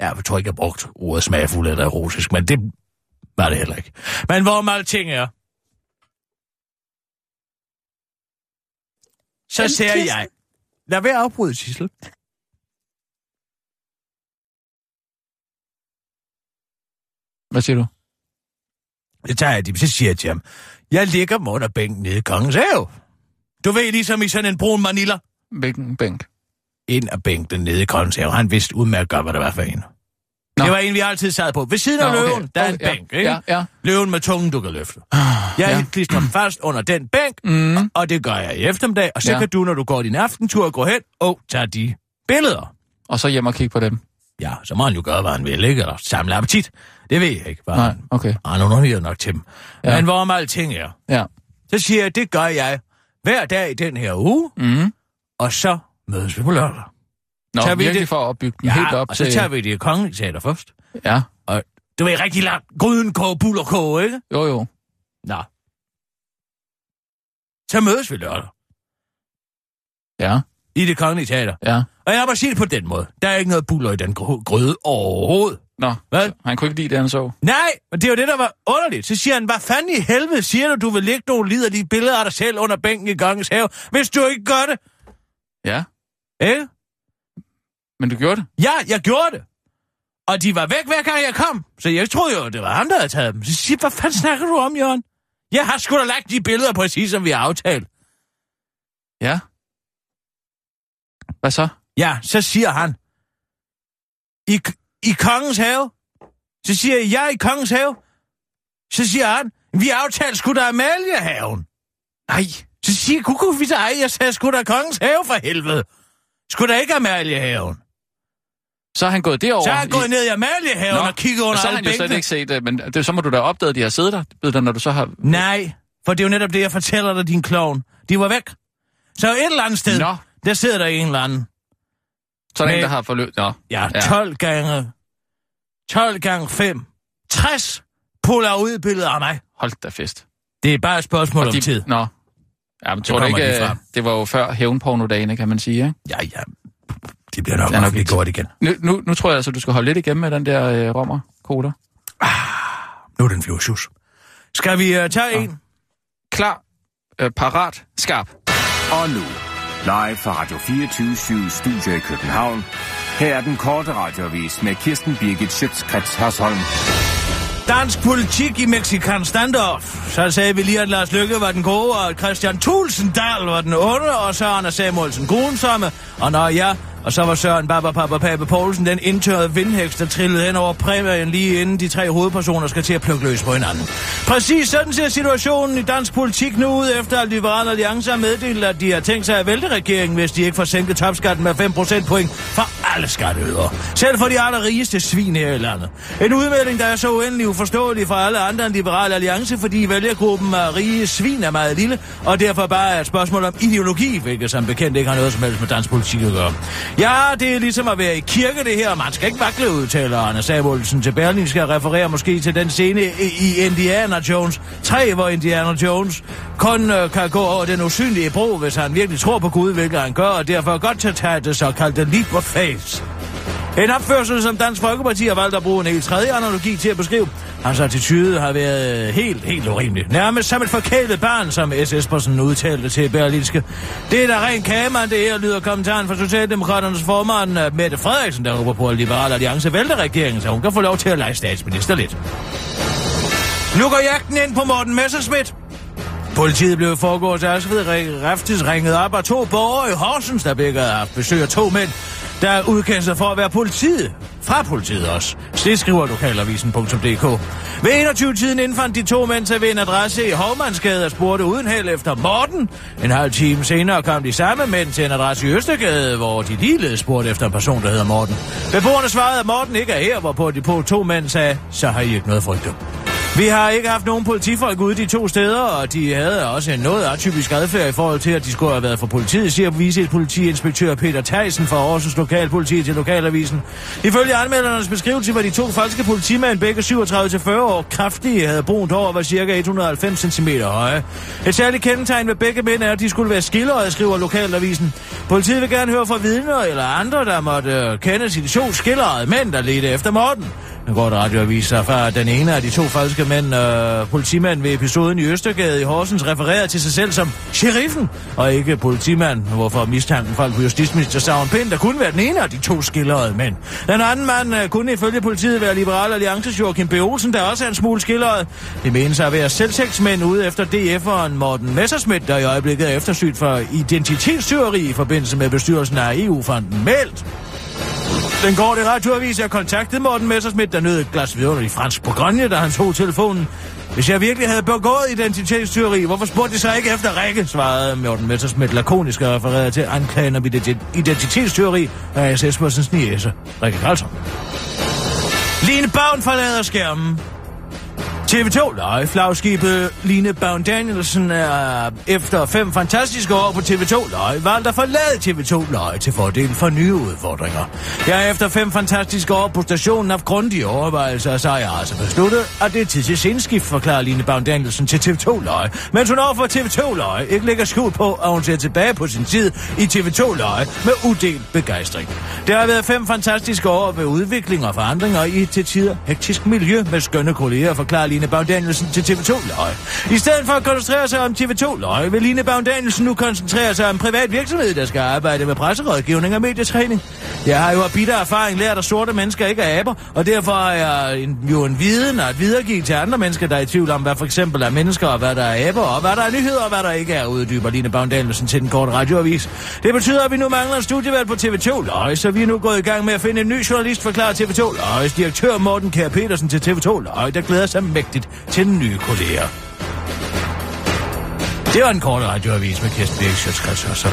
[SPEAKER 5] Ja, jeg tror ikke, jeg brugt ordet smagfuld eller erotisk, men det var det heller ikke. Men hvor meget ting er. Så
[SPEAKER 6] Jamen,
[SPEAKER 5] ser
[SPEAKER 6] Kirsten.
[SPEAKER 5] jeg. Lad være at afbryde, Sissel.
[SPEAKER 4] Hvad siger du?
[SPEAKER 5] Det tager jeg dem, så siger jeg til ham. Jeg ligger dem under bænken nede i Kongens Have. Du ved, ligesom i sådan en brun manila.
[SPEAKER 4] Hvilken bænk?
[SPEAKER 5] ind og bænke den nede i grøntsager. Han vidste udmærket godt, hvad det var for en.
[SPEAKER 4] Nå.
[SPEAKER 5] Nå. Det var en, vi altid sad på. Ved siden af
[SPEAKER 4] Nå,
[SPEAKER 5] løven, der er en
[SPEAKER 4] Okay, ja,
[SPEAKER 5] bænk, ikke?
[SPEAKER 4] Ja, ja.
[SPEAKER 5] Løven med tungen, du kan løfte. Jeg
[SPEAKER 4] ja.
[SPEAKER 5] ja. klistrer mig fast under den bænk,
[SPEAKER 4] Mm.
[SPEAKER 5] og det gør jeg i eftermiddag. Og så
[SPEAKER 4] Ja.
[SPEAKER 5] ja. kan du, når du går din aftentur, gå hen og tage de billeder.
[SPEAKER 4] Og så hjem og kigge på dem.
[SPEAKER 5] Ja, så må han jo gøre, hvad han vil, ikke? Eller samle appetit. Det ved jeg ikke. Bare
[SPEAKER 4] Nej, okay.
[SPEAKER 5] Han underviger nok til dem.
[SPEAKER 4] Ja.
[SPEAKER 5] Ja. Men hvorom alting er,
[SPEAKER 4] Ja.
[SPEAKER 5] så siger jeg, det gør jeg hver dag i den her uge,
[SPEAKER 4] Mm.
[SPEAKER 5] og så mødes vi på lørdag.
[SPEAKER 4] Nå,
[SPEAKER 5] Tager vi
[SPEAKER 4] virkelig
[SPEAKER 5] det-
[SPEAKER 4] for at opbygge den helt op
[SPEAKER 5] og
[SPEAKER 4] til...
[SPEAKER 5] så tager vi det kongelige teater først.
[SPEAKER 4] Ja,
[SPEAKER 5] Du ved, rigtig langt. Gryden, kog, buller, kog, ikke?
[SPEAKER 4] jo jo.
[SPEAKER 5] Nå. Så mødes vi lørdag
[SPEAKER 4] Ja,
[SPEAKER 5] i det kongelige teater.
[SPEAKER 4] ja.
[SPEAKER 5] Og jeg må sige det på den måde. Der er ikke noget buller i den gr- gryde overhovedet.
[SPEAKER 4] Nå,
[SPEAKER 5] Hvad?
[SPEAKER 4] så han kunne ikke lide det, han så.
[SPEAKER 5] Nej, men det er jo det, der var underligt. Så siger han, hvad fanden i helvede siger du, du vil lægge nogle lider de billeder af dig selv under bænken i kongens have, hvis du ikke gør det?
[SPEAKER 4] Ja,
[SPEAKER 5] Ikke?
[SPEAKER 4] men du gjorde det.
[SPEAKER 5] Ja, jeg gjorde det. Og de var væk, hver gang jeg kom. Så jeg troede jo, det var ham, der havde taget dem. Så siger jeg, hvad fanden snakker du om, Jørgen? Jeg har sgu da lagt de billeder præcis, som vi har aftalt.
[SPEAKER 4] Ja. Hvad så?
[SPEAKER 5] Ja, så siger han, i, i kongens have. Så siger jeg, jeg er i kongens have. Så siger han, vi aftalte sgu da Amaliehaven.
[SPEAKER 4] Nej.
[SPEAKER 5] Så siger jeg, kuku, vi ej, jeg sagde sgu da kongens have for helvede. Skulle da ikke Amaliehaven.
[SPEAKER 4] Så er han gået derover.
[SPEAKER 5] Så er jeg gået ned i Amaliehaven
[SPEAKER 4] Nå,
[SPEAKER 5] og kigget under
[SPEAKER 4] og så har
[SPEAKER 5] alle
[SPEAKER 4] han jo slet
[SPEAKER 5] bænkene.
[SPEAKER 4] ikke set det, men det, så må du da opdage, at de har siddet der, ved du, når du så har...
[SPEAKER 5] Nej, for det er jo netop det, jeg fortæller dig, din klovn. De var væk. Så et eller andet sted,
[SPEAKER 4] Nå,
[SPEAKER 5] der sidder der en eller anden.
[SPEAKER 4] så er der en,
[SPEAKER 5] Men-
[SPEAKER 4] der har forløbet... Nå,
[SPEAKER 5] Ja,
[SPEAKER 4] Ja.
[SPEAKER 5] 12 gange. 12 gange 5. 60 puller ud billeder af mig.
[SPEAKER 4] hold da fest.
[SPEAKER 5] Det er bare et spørgsmål om tid.
[SPEAKER 4] Nå. Jamen, tror du
[SPEAKER 5] kommer
[SPEAKER 4] ikke,
[SPEAKER 5] de
[SPEAKER 4] øh,
[SPEAKER 5] fra.
[SPEAKER 4] det var jo før hævnpornodagene, kan man sige, ikke?
[SPEAKER 5] Ja, ja. Det bliver nok,
[SPEAKER 4] Det er nok
[SPEAKER 5] nok
[SPEAKER 4] ikke-
[SPEAKER 5] ikke godt igen.
[SPEAKER 4] Nu, nu, nu tror jeg altså, du skal holde lidt igennem med den der øh, rommer koder.
[SPEAKER 5] Nu er den flyvershus. Skal vi uh, tage en?
[SPEAKER 4] Klar, øh, parat, skarp.
[SPEAKER 2] Og nu, live fra Radio 24 Studio i København. Her er den korte radiovis med Kirsten Birgit Schøtzgrads Hasholm.
[SPEAKER 5] Dansk politik i Mexikan standoff. Så sagde vi lige, at Lars Lykke var den gode, og at Christian Tulsendal var den onde, og så Anders Samuelsen gruensomme. Og når jeg og så var Søren Baba Papa Pape Poulsen den indtørrede vindhæks, der trillede hen over præmien lige inden de tre hovedpersoner skal til at plukke løs på hinanden. Præcis sådan ser situationen i dansk politik nu ud, efter at Liberale Alliance har meddelt, at de har tænkt sig at vælte regeringen, hvis de ikke får sænket topskatten med 5 procentpoint for alle skatteydere. Selv for de allerrigeste svin her i landet. En udmelding, der er så uendelig uforståelig for alle andre end Liberale Alliance, fordi vælgergruppen af rige svin er meget lille, og derfor bare er et spørgsmål om ideologi, hvilket som bekendt ikke har noget som helst med dansk politik at gøre. Ja, det er ligesom at være i kirke, det her. Man skal ikke vakle, udtaler Anders Samuelsen til Berlin, skal referere måske til den scene i i Indiana Jones 3, hvor Indiana Jones kun øh, kan gå over den usynlige bro, hvis han virkelig tror på Gud, hvilket han gør, og derfor er godt til at tage det såkaldte leap of faith. En opførsel, som Dansk Folkeparti har valgt at bruge en helt tredje analogi til at beskrive. Hans attitude har været helt, helt urimelig. Nærmest som et forkælet barn, som S. Espersen udtalte til Berlinske. Det er da rent kagemann, det her lyder kommentaren fra Socialdemokraternes formand øh, Mette Frederiksen, der håber på, at Liberale Alliance vælter regeringen, så hun kan få lov til at lege statsminister lidt. Nu går jagten ind på Morten Messerschmidt. Politiet blev i forgårs Ørsved Reftis ringet op af to borgere i Horsens, der begge har haft besøg af to mænd, der udkendte sig for at være politiet. Fra politiet også. Det skriver lokalavisen.dk. Ved 21-tiden indfandt de to mænd sig ved en adresse i Hovmandsgade og spurgte uden held efter Morten. En halv time senere kom de samme mænd til en adresse i Østergade, hvor de ligeledes spurgte efter en person, der hedder Morten. Beboerne svarede, at Morten ikke er her, hvorpå de på to mænd sagde, så har I ikke noget at frygte. Vi har ikke haft nogen politifolk ude de to steder, og de havde også en noget atypisk adfærd i forhold til, at de skulle have været for politiet, siger vicepolitiinspektør Peter Theisen fra Aarhus Lokalpoliti til Lokalavisen. Ifølge anmeldernes beskrivelse var de to falske politimænd begge 37-40 år kraftige, havde brunt hår og var cirka 190 cm høje. Et særligt kendetegn ved begge mænd er, at de skulle være skildrede, skriver Lokalavisen. Politiet vil gerne høre fra vidner eller andre, der måtte øh, kende til de to skildrede mænd, der ledte efter Morten. Nu går det radioavis sig fra, at den ene af de to falske mænd, øh, politimand ved episoden i Østergade i Horsens, refererer til sig selv som sheriffen, og ikke politimand, hvorfor mistanken faldt på justitsminister Søren Pind, der kunne være den ene af de to skildrede mænd. Den anden mand øh, kunne ifølge politiet være Liberal Alliances Joachim B. Olsen, der også er en smule skildret. Det menes at være selvtægtsmænd ude efter DF'eren Morten Messerschmidt, der i øjeblikket er eftersygt for identitetstyveri i forbindelse med bestyrelsen af E EU-fonden Meldt. Den korte radioavis jeg kontaktede Morten Messerschmidt, der nød et glas vidunderlig fransk Bourgogne, da han tog telefonen. Hvis jeg virkelig havde begået identitetstyveri, hvorfor spurgte de så ikke efter Rikke, svarede Morten Messerschmidt lakonisk og refererede til anklagen om identi- identitetstyveri af SS Morsens niæse, Rikke Karlsson. Line Bavn forlader skærmen. TV2 Live flagskibet Line Bavn Danielsen er efter fem fantastiske år på TV2 Live valgt at forlade TV2 Live til fordel for nye udfordringer. Jeg har efter fem fantastiske år på stationen haft grundige overvejelser, så har jeg altså besluttet, at det er tid til sindskift, forklarer Line Bavn Danielsen til TV2 Live, mens hun overfor TV2 Live ikke lægger skjul på, at hun ser tilbage på sin tid i TV2 Live med udelt begejstring. Det har været fem fantastiske år med udvikling og forandringer i et til tider hektisk miljø med skønne kolleger, forklarer Line Bavn Danielsen til TV2 Løg. I stedet for at koncentrere sig om TV2 Løg, vil Line Bavn Danielsen nu koncentrere sig om en privat virksomhed, der skal arbejde med presserådgivning og medietræning. Jeg har jo af bitter erfaring lært, at sorte mennesker ikke er aber, og derfor har jeg en, jo en viden at videregive til andre mennesker, der er i tvivl om, hvad for eksempel er mennesker, og hvad der er aber, og hvad der er nyheder, og hvad der ikke er, uddyber Line Bavn Danielsen til den korte radioavis. Det betyder, at vi nu mangler en studievalg på TV2 Løg, så vi er nu gået i gang med at finde en ny journalist, forklarer TV2 Løgs direktør Morten Kær Petersen til TV2 Løg, der glæder sig mægtigt til den nye kolleger. Det var en kort radioavis med Kirsten Birk Sjøtskrets og så.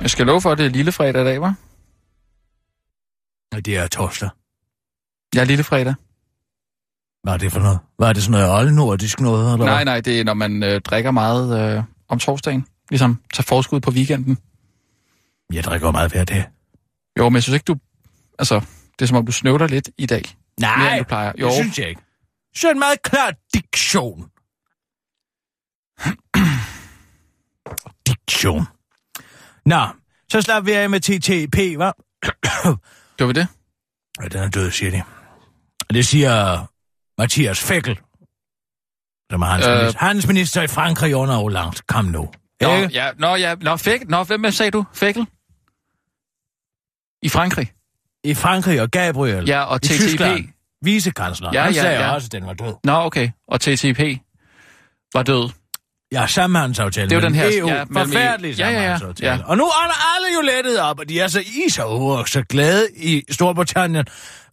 [SPEAKER 4] Jeg skal love for, at det er lillefredag i dag, var?
[SPEAKER 5] Og det er torsdag.
[SPEAKER 4] Ja, lillefredag.
[SPEAKER 5] Hvad er det for noget? Hvad er det sådan noget oldnordisk noget? Eller
[SPEAKER 4] Nej,
[SPEAKER 5] hvad?
[SPEAKER 4] nej, det er, når man øh, drikker meget øh, om torsdagen. Ligesom tager forskud på weekenden.
[SPEAKER 5] Jeg drikker jo meget hver dag.
[SPEAKER 4] Jo, men jeg synes ikke, du... Altså, det er som om, du snøvler lidt i dag. Mere, end du plejer. Jo,
[SPEAKER 5] det synes jeg ikke. Så en meget klar diktion. *clears throat* diktion. Nå, så slap vi af med TTP, hva'? *clears throat*
[SPEAKER 4] gjorde vi det?
[SPEAKER 5] Ja, den er død, siger de. Og Det siger Mathias Fækkel, som er hans, øh...
[SPEAKER 4] Øh.
[SPEAKER 5] minister, hans minister i Frankrig under Hollande. Kom nu.
[SPEAKER 4] Nå,
[SPEAKER 5] Ikke?
[SPEAKER 4] ja, nå, ja, nå, fæk, nå, hvem sagde du? Fækkel? I Frankrig?
[SPEAKER 5] I Frankrig og Gabriel.
[SPEAKER 4] Ja, og
[SPEAKER 5] I
[SPEAKER 4] TTP.
[SPEAKER 5] Tyskland. Vicekansleren.
[SPEAKER 4] Ja,
[SPEAKER 5] Ja, han
[SPEAKER 4] ja,
[SPEAKER 5] ja, sagde
[SPEAKER 4] ja.
[SPEAKER 5] også, at den var død.
[SPEAKER 4] Nå, okay. Og TTP var død.
[SPEAKER 5] Ja, samhandsaftale.
[SPEAKER 4] Det er jo
[SPEAKER 5] mellem
[SPEAKER 4] den her-
[SPEAKER 5] EU.
[SPEAKER 4] ja, mellem
[SPEAKER 5] Forfærdelig
[SPEAKER 4] EU. Ja, ja, ja.
[SPEAKER 5] samhandsaftale.
[SPEAKER 4] Ja.
[SPEAKER 5] Og nu er der alle jo lettet op, og de er så is og uger, og så glade i Storbritannien,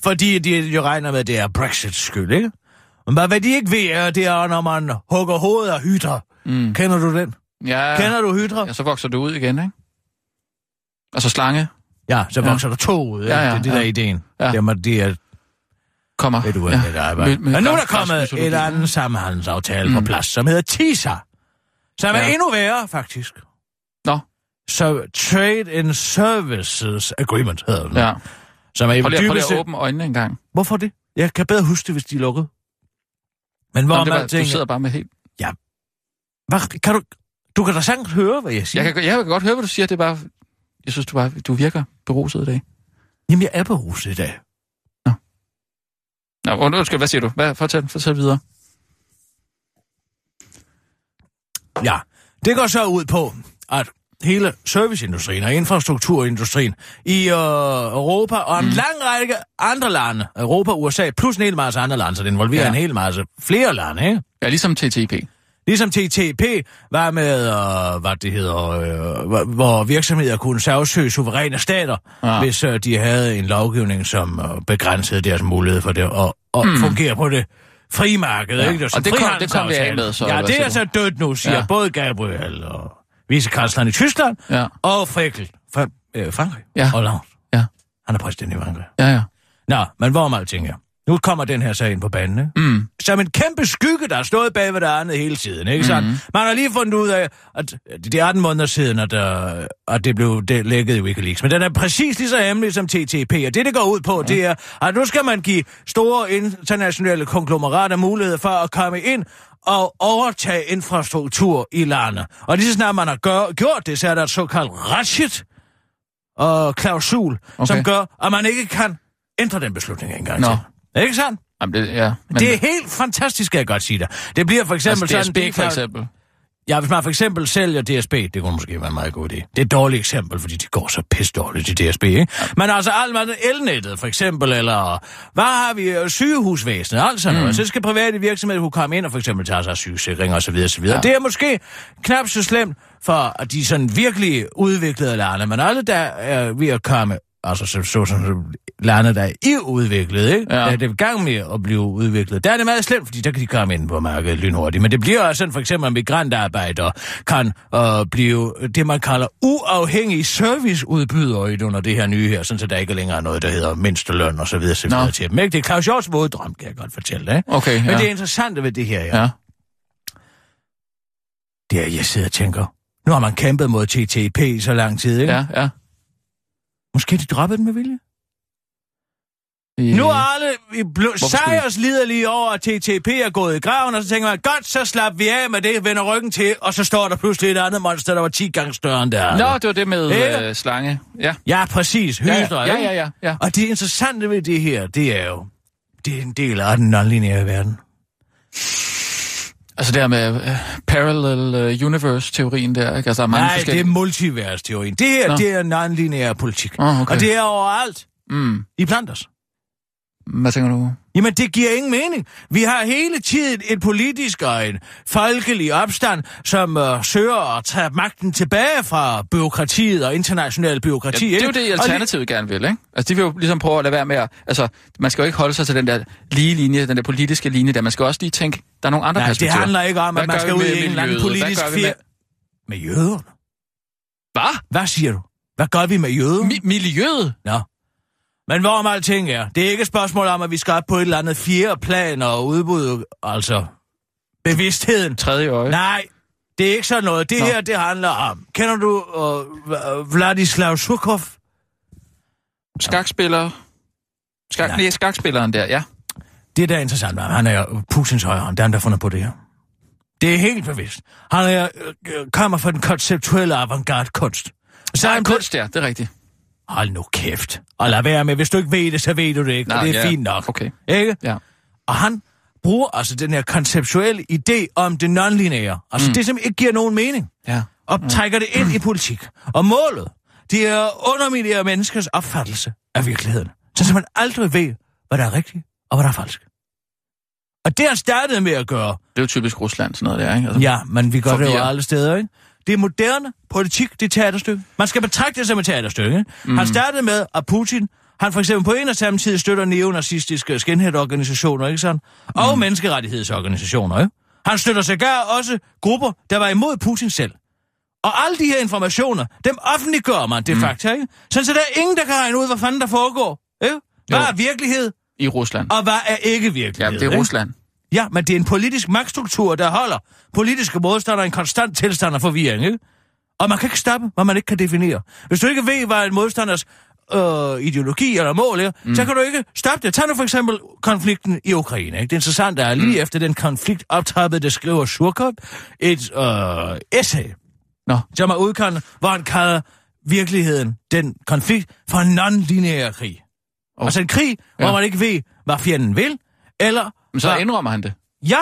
[SPEAKER 5] fordi de jo regner med, at det er Brexits skyld, ikke? Men hvad de ikke ved, er, det er, når man hugger hovedet af hydre. Mm. Kender du den?
[SPEAKER 4] Ja,
[SPEAKER 5] Kender du hydre?
[SPEAKER 4] ja, så vokser du ud igen, ikke? Og så slange
[SPEAKER 5] Ja, så
[SPEAKER 4] Ja.
[SPEAKER 5] vokser der to ud. Ja,
[SPEAKER 4] Ja,
[SPEAKER 5] ja,
[SPEAKER 4] ja,
[SPEAKER 5] det er det, der er ideen.
[SPEAKER 4] Ja.
[SPEAKER 5] Ja. Jamen, det er
[SPEAKER 4] kommer.
[SPEAKER 5] Ved du, hvad ja. det arbejde.
[SPEAKER 4] Med- med
[SPEAKER 5] Men nu er der
[SPEAKER 4] græsk-
[SPEAKER 5] kommet
[SPEAKER 4] græsk mytologi.
[SPEAKER 5] et andet samhandelsaftale mm. på
[SPEAKER 4] Mm.
[SPEAKER 5] plads, som hedder TISA, som ja. er
[SPEAKER 4] Ja.
[SPEAKER 5] endnu værre, faktisk.
[SPEAKER 4] Nå.
[SPEAKER 5] Så Trade and Services Agreement hedder den.
[SPEAKER 4] Ja.
[SPEAKER 5] Som er i
[SPEAKER 4] Prøv lige, prøv lige
[SPEAKER 5] dybeste...
[SPEAKER 4] at åbne øjnene en gang.
[SPEAKER 5] Hvorfor det? Jeg kan bedre huske det, hvis de er lukket. Men hvor
[SPEAKER 4] Nå,
[SPEAKER 5] man
[SPEAKER 4] det var, du
[SPEAKER 5] tænker...
[SPEAKER 4] sidder bare med helt...
[SPEAKER 5] Hvad, kan du... Du kan da sagtens høre, hvad jeg siger.
[SPEAKER 4] Jeg kan, jeg kan godt høre, hvad du siger. Det er bare... Jeg synes, du, bare, du virker beruset i dag.
[SPEAKER 5] Jamen, jeg er på huset i dag.
[SPEAKER 4] Nå, und- undskyld, hvad siger du? Hvad, fortæl, fortæl videre.
[SPEAKER 5] Ja, det går så ud på, at hele serviceindustrien og infrastrukturindustrien i øh, Europa og en mm. lang række andre lande, Europa, USA, plus en hel masse andre lande, så det involverer
[SPEAKER 4] Ja.
[SPEAKER 5] ja. en hel masse flere lande, ikke?
[SPEAKER 4] Ja, ligesom TTP.
[SPEAKER 5] Ligesom TTP var med, øh, hvad det hedder, øh, hvor- hvor virksomheder kunne sagsøge suveræne stater,
[SPEAKER 4] Ja.
[SPEAKER 5] ja. hvis øh, de havde en lovgivning, som øh, begrænsede deres mulighed for det, og, og mm. fungere på det frimarked,
[SPEAKER 4] Hmm. Ja,
[SPEAKER 5] ja. ikke?
[SPEAKER 4] og
[SPEAKER 5] som
[SPEAKER 4] det kom-
[SPEAKER 5] frihandelsaftale.
[SPEAKER 4] det kom jeg af med, så,
[SPEAKER 5] Ja,
[SPEAKER 4] eller
[SPEAKER 5] det er
[SPEAKER 4] hvad siger
[SPEAKER 5] altså dødt nu, siger
[SPEAKER 4] Ja.
[SPEAKER 5] ja. både Gabriel og vicekansleren i Tyskland
[SPEAKER 4] Ja.
[SPEAKER 5] og Frickel fra øh, Frankrig.
[SPEAKER 4] Ja.
[SPEAKER 5] Hollande.
[SPEAKER 4] Ja.
[SPEAKER 5] Han er præsident i Frankrig.
[SPEAKER 4] Ja, ja.
[SPEAKER 5] Nå, men hvor meget ting er. Nu kommer den her sag ind på banen, ikke?
[SPEAKER 4] Mm.
[SPEAKER 5] som en kæmpe skygge, der har stået bag ved det andet hele tiden, ikke sandt?
[SPEAKER 4] Mhm.
[SPEAKER 5] Mm-hmm. Man har lige fundet ud af, at det er 18 måneder siden, at, øh, at det blev det lækket i Wikileaks, men den er præcis lige så hemmelig som TTP, og det, det går ud på, det er, at nu skal man give store internationale konglomerater mulighed for at komme ind og overtage infrastruktur i landet. Og lige så snart man har gør, gjort det, så er der et såkaldt ratchet og klausul, okay.
[SPEAKER 4] Okay.
[SPEAKER 5] som gør, at man ikke kan ændre den beslutning engang
[SPEAKER 4] Nå.
[SPEAKER 5] til. Ikke sandt?
[SPEAKER 4] Jamen, det, ja. Men,
[SPEAKER 5] Det er helt fantastisk, kan jeg godt sige dig. Det bliver for eksempel
[SPEAKER 4] altså,
[SPEAKER 5] altså,
[SPEAKER 4] DSB
[SPEAKER 5] sådan... det
[SPEAKER 4] for
[SPEAKER 5] kan-
[SPEAKER 4] eksempel.
[SPEAKER 5] Ja, hvis man for eksempel sælger DSB, det kunne måske være en meget god idé. Det er et dårligt eksempel, fordi de går så pisse dårligt i DSB, ikke? Men altså alt med elnettet, for eksempel, eller hvad har vi, øh, sygehusvæsenet, alt sådan noget.
[SPEAKER 4] Mm.
[SPEAKER 5] Så skal private virksomheder kunne komme ind og for eksempel tage sig af sygesikring osv. osv. Ja. Det er måske knap så slemt for at de sådan virkelig udviklede lande, men alle der er ved at komme altså så, så, så, så lande, der er i udviklet, ikke?
[SPEAKER 4] Ja.
[SPEAKER 5] Ja. Der, det er i gang med at blive udviklet. Der er det meget slemt, fordi der kan de komme ind på markedet lynhurtigt. Men det bliver også sådan, for eksempel at migrantarbejder kan øh, blive det, man kalder uafhængige serviceudbydere ind under det her nye her, sådan så der ikke længere er noget, der hedder mindsteløn og så videre, så videre
[SPEAKER 4] Nå.
[SPEAKER 5] til dem. Ikke? Det er Claus Hjorts våddrøm, kan jeg godt fortælle dig.
[SPEAKER 4] Okay,
[SPEAKER 5] Men
[SPEAKER 4] ja.
[SPEAKER 5] det interessante ved det her, ja,
[SPEAKER 4] Ja.
[SPEAKER 5] det er, at jeg sidder og tænker, nu har man kæmpet mod TTP i så lang tid, ikke?
[SPEAKER 4] Ja, ja.
[SPEAKER 5] Måske de droppet den med vilje?
[SPEAKER 4] I-
[SPEAKER 5] Nu er alle i bl-
[SPEAKER 4] skulle vi?
[SPEAKER 5] sejrsliderlige over, at TTP er gået i graven, og så tænker man, godt, så slap vi af med det, vender ryggen til, og så står der pludselig et andet monster, der var 10 gange større end der.
[SPEAKER 4] Nå, det var det med
[SPEAKER 5] Ikke?
[SPEAKER 4] øh, slange. Ja.
[SPEAKER 5] Ja, præcis.
[SPEAKER 4] Ja,
[SPEAKER 5] Hydra,
[SPEAKER 4] ja,
[SPEAKER 5] ikke?
[SPEAKER 4] ja, ja, ja.
[SPEAKER 5] Og det interessante ved det her, det er jo, det er en del af den nonlineære verden.
[SPEAKER 4] Altså det her med uh, parallel uh, universe-teorien der, ikke? Altså der er mange
[SPEAKER 5] Nej, det er
[SPEAKER 4] forskellige...
[SPEAKER 5] multiversteorien. Det her,
[SPEAKER 4] Nå.
[SPEAKER 5] det er nonlineær politik.
[SPEAKER 4] Åh, okay.
[SPEAKER 5] Og det er overalt.
[SPEAKER 4] Mm.
[SPEAKER 5] I blandt os.
[SPEAKER 4] Hvad tænker du?
[SPEAKER 5] Jamen, det giver ingen mening. Vi har hele tiden et politisk og en folkelig opstand, som øh, søger at tage magten tilbage fra byråkratiet og international
[SPEAKER 4] Ja,
[SPEAKER 5] byråkrati.
[SPEAKER 4] det er jo
[SPEAKER 5] ikke?
[SPEAKER 4] det,
[SPEAKER 5] Og
[SPEAKER 4] Alternativet gerne vil, ikke? Altså, de vil jo ligesom prøve at lade være med at... Altså, man skal jo ikke holde sig til den der lige linje, den der politiske linje der. Man skal også lige tænke, der er nogle andre
[SPEAKER 5] Nej, det
[SPEAKER 4] perspektiver.
[SPEAKER 5] handler ikke om, at
[SPEAKER 4] Hvad
[SPEAKER 5] man
[SPEAKER 4] gør
[SPEAKER 5] skal
[SPEAKER 4] vi
[SPEAKER 5] ud
[SPEAKER 4] med
[SPEAKER 5] i en eller anden
[SPEAKER 4] miljøet? Hvad
[SPEAKER 5] politisk
[SPEAKER 4] gør vi med-
[SPEAKER 5] fjer... Med jøderne?
[SPEAKER 4] Hvad?
[SPEAKER 5] Hvad siger du? Hvad gør vi med jøderne?
[SPEAKER 4] Mi- miljøet?
[SPEAKER 5] Nå. Men hvorom alting er, det er ikke et spørgsmål om, at vi skal op på et eller andet fjerde plan og udbud, altså bevidstheden.
[SPEAKER 4] Tredje øje.
[SPEAKER 5] Nej, det er ikke sådan noget. Det
[SPEAKER 4] Nå.
[SPEAKER 5] Nå. her, det handler om... Kender du uh, Vladislav Surkov?
[SPEAKER 4] Skakspiller. Skak...
[SPEAKER 5] Nej.
[SPEAKER 4] Nej, skakspilleren der, ja.
[SPEAKER 5] Det er da interessant. hva'? Han er jo Putins højre hånd. Det er han, der har fundet på det her. Det er helt bevidst. Han er, øh, kommer fra den konceptuelle avantgarde kunst. Så er
[SPEAKER 4] Der er
[SPEAKER 5] han
[SPEAKER 4] en
[SPEAKER 5] blevet-
[SPEAKER 4] kunst der, det er rigtigt.
[SPEAKER 5] Hold nu kæft. Og lad være med, hvis du ikke ved det, så ved du det ikke.
[SPEAKER 4] Nej,
[SPEAKER 5] Nej, det er
[SPEAKER 4] ja,
[SPEAKER 5] ja. fint nok.
[SPEAKER 4] okay.
[SPEAKER 5] Ikke?
[SPEAKER 4] Ja.
[SPEAKER 5] Og han bruger altså den her konceptuelle idé om det nonlineære. Altså mm. det, som ikke giver nogen mening.
[SPEAKER 4] Ja. Mm.
[SPEAKER 5] og trækker det ind i politik. Og målet, det er at underminere menneskers opfattelse af virkeligheden. Så, så man aldrig ved, hvad der er rigtigt og hvad der er falsk. Og det har startet med at gøre.
[SPEAKER 4] Det er jo typisk Rusland, sådan noget der, ikke? Altså,
[SPEAKER 5] Ja, men vi gør det jo
[SPEAKER 4] Forvirre.
[SPEAKER 5] alle steder, ikke? Det er moderne politik, det er teaterstykke. Man skal betragte det som et teaterstykke. ikke?
[SPEAKER 4] Mhm.
[SPEAKER 5] Han startede med, at Putin, han for eksempel på en og samme tid støtter neonazistiske skinhead-organisationer, ikke sådan?
[SPEAKER 4] Mhm.
[SPEAKER 5] Og menneskerettighedsorganisationer, ikke? Han støtter sågar også grupper, der var imod Putin selv. Og alle de her informationer, dem offentliggør man
[SPEAKER 4] Mhm.
[SPEAKER 5] de facto, ikke? Sådan, så der er ingen, der kan regne ud, hvad fanden der foregår, ikke? Hvad
[SPEAKER 4] Jo.
[SPEAKER 5] er virkelighed,
[SPEAKER 4] I Rusland.
[SPEAKER 5] og hvad er ikke virkelighed,
[SPEAKER 4] Ja, det
[SPEAKER 5] ikke?
[SPEAKER 4] er Rusland.
[SPEAKER 5] Ja, men det er en politisk magtstruktur, der holder politiske modstandere i en konstant tilstand af forvirring, ikke? Og man kan ikke stoppe, hvad man ikke kan definere. Hvis du ikke ved, hvad en modstanders øh, ideologi eller mål er, mm. så kan du ikke stoppe det. Tag nu for eksempel konflikten i Ukraine. Ikke? Det interessante er, lige mm. efter den konflikt optappede, det skriver Surkov et øh, essay,
[SPEAKER 4] Nå.
[SPEAKER 5] som er udkommet, hvor han kalder virkeligheden, den konflikt, for en non-lineær krig. Oh. Altså en krig, ja.
[SPEAKER 4] Ja.
[SPEAKER 5] hvor man ikke ved, hvad fjenden vil, eller...
[SPEAKER 4] Men så
[SPEAKER 5] hvad-
[SPEAKER 4] indrømmer han det.
[SPEAKER 5] Ja,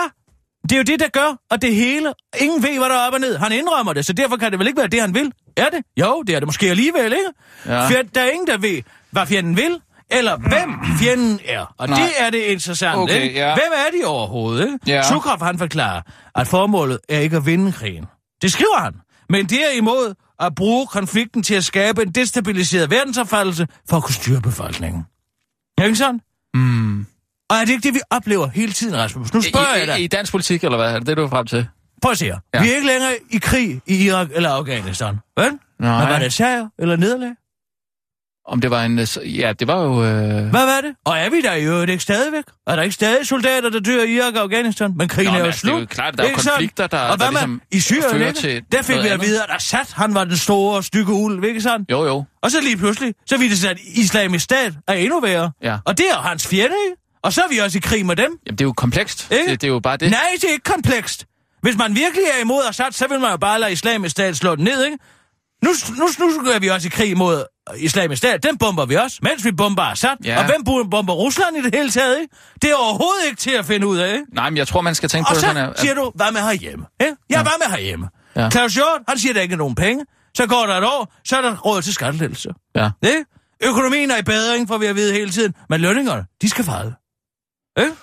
[SPEAKER 5] det er jo det, der gør, og det hele. Ingen ved, hvad der er op og ned. Han indrømmer det, så derfor kan det vel ikke være det, han vil. Er det? Jo, det er det måske alligevel, ikke?
[SPEAKER 4] Ja.
[SPEAKER 5] Ja. For der er ingen, der ved, hvad fjenden vil, eller hvem fjenden er. Og
[SPEAKER 4] Nej.
[SPEAKER 5] Nej. det er det interessante,
[SPEAKER 4] Okay,
[SPEAKER 5] ikke?
[SPEAKER 4] ja.
[SPEAKER 5] Hvem er de overhovedet, ikke?
[SPEAKER 4] Ja.
[SPEAKER 5] Sukhov, han forklarer, at formålet er ikke at vinde krigen. Det skriver han. Men derimod at bruge konflikten til at skabe en destabiliseret verdensopfattelse for at kunne styre befolkningen. Er det ikke sådan?
[SPEAKER 4] Mm.
[SPEAKER 5] Og er det ikke det, vi oplever hele tiden, Rasmus? Nu spørger jeg
[SPEAKER 4] I, i,
[SPEAKER 5] dig.
[SPEAKER 4] I dansk politik, eller hvad? Er det det, du er frem til?
[SPEAKER 5] Prøv at se her.
[SPEAKER 4] Ja.
[SPEAKER 5] Vi er ikke længere i krig i Irak eller Afghanistan. Vel?
[SPEAKER 4] Nej.
[SPEAKER 5] Men var det sejr eller nederlag?
[SPEAKER 4] Om det var en... øh, s- Ja, det var jo... Øh...
[SPEAKER 5] Hvad var det? Og er vi der i øvrigt ikke stadigvæk? Er der ikke stadig soldater, der dør i Irak og Afghanistan? Men krigen
[SPEAKER 4] Nå,
[SPEAKER 5] er
[SPEAKER 4] men
[SPEAKER 5] jo
[SPEAKER 4] altså, det
[SPEAKER 5] slut.
[SPEAKER 4] er jo klart, der er jo
[SPEAKER 5] Ikke sandt?
[SPEAKER 4] konflikter, der-
[SPEAKER 5] Og hvad
[SPEAKER 4] der
[SPEAKER 5] man,
[SPEAKER 4] ligesom
[SPEAKER 5] i Syrien,
[SPEAKER 4] fører
[SPEAKER 5] ikke?
[SPEAKER 4] til
[SPEAKER 5] der fik
[SPEAKER 4] noget
[SPEAKER 5] vi at
[SPEAKER 4] andet.
[SPEAKER 5] vide, at Assad, han var den store stykke ulv, ikke sandt?
[SPEAKER 4] Jo, jo.
[SPEAKER 5] Og så lige pludselig, så viser det sig, at islamisk stat er endnu værre.
[SPEAKER 4] Ja.
[SPEAKER 5] Og det er jo hans fjende, ikke? Og så er vi også i krig med dem.
[SPEAKER 4] Jamen, det er jo komplekst.
[SPEAKER 5] Ikke?
[SPEAKER 4] Det, det er jo bare det.
[SPEAKER 5] Det... Nej, det er ikke komplekst. Hvis man virkelig er imod Assad, så vil man jo bare lade islamisk stat slå den ned, ikke? Nu, nu, nu er vi også i krig mod islamisk stat. Den bomber vi også, mens vi bomber Assad.
[SPEAKER 4] Ja.
[SPEAKER 5] Ja. Og hvem bu- bomber Rusland i det hele taget, ikke? Det er overhovedet ikke til at finde ud af, ikke?
[SPEAKER 4] Nej, men jeg tror, man skal tænke
[SPEAKER 5] Og
[SPEAKER 4] på det
[SPEAKER 5] så
[SPEAKER 4] sådan, at...
[SPEAKER 5] siger du, hvad med herhjemme? Ikke? Ja, ja, hvad med herhjemme?
[SPEAKER 4] Ja.
[SPEAKER 5] Ja. Claus Hjort, han siger, der ikke er nogen penge. Så går der et år, så er der råd til skattelettelser.
[SPEAKER 4] Ja.
[SPEAKER 5] Ikke? Økonomien er i bedring, får vi at vide hele tiden. Men lønningerne, de skal falde. Ikke?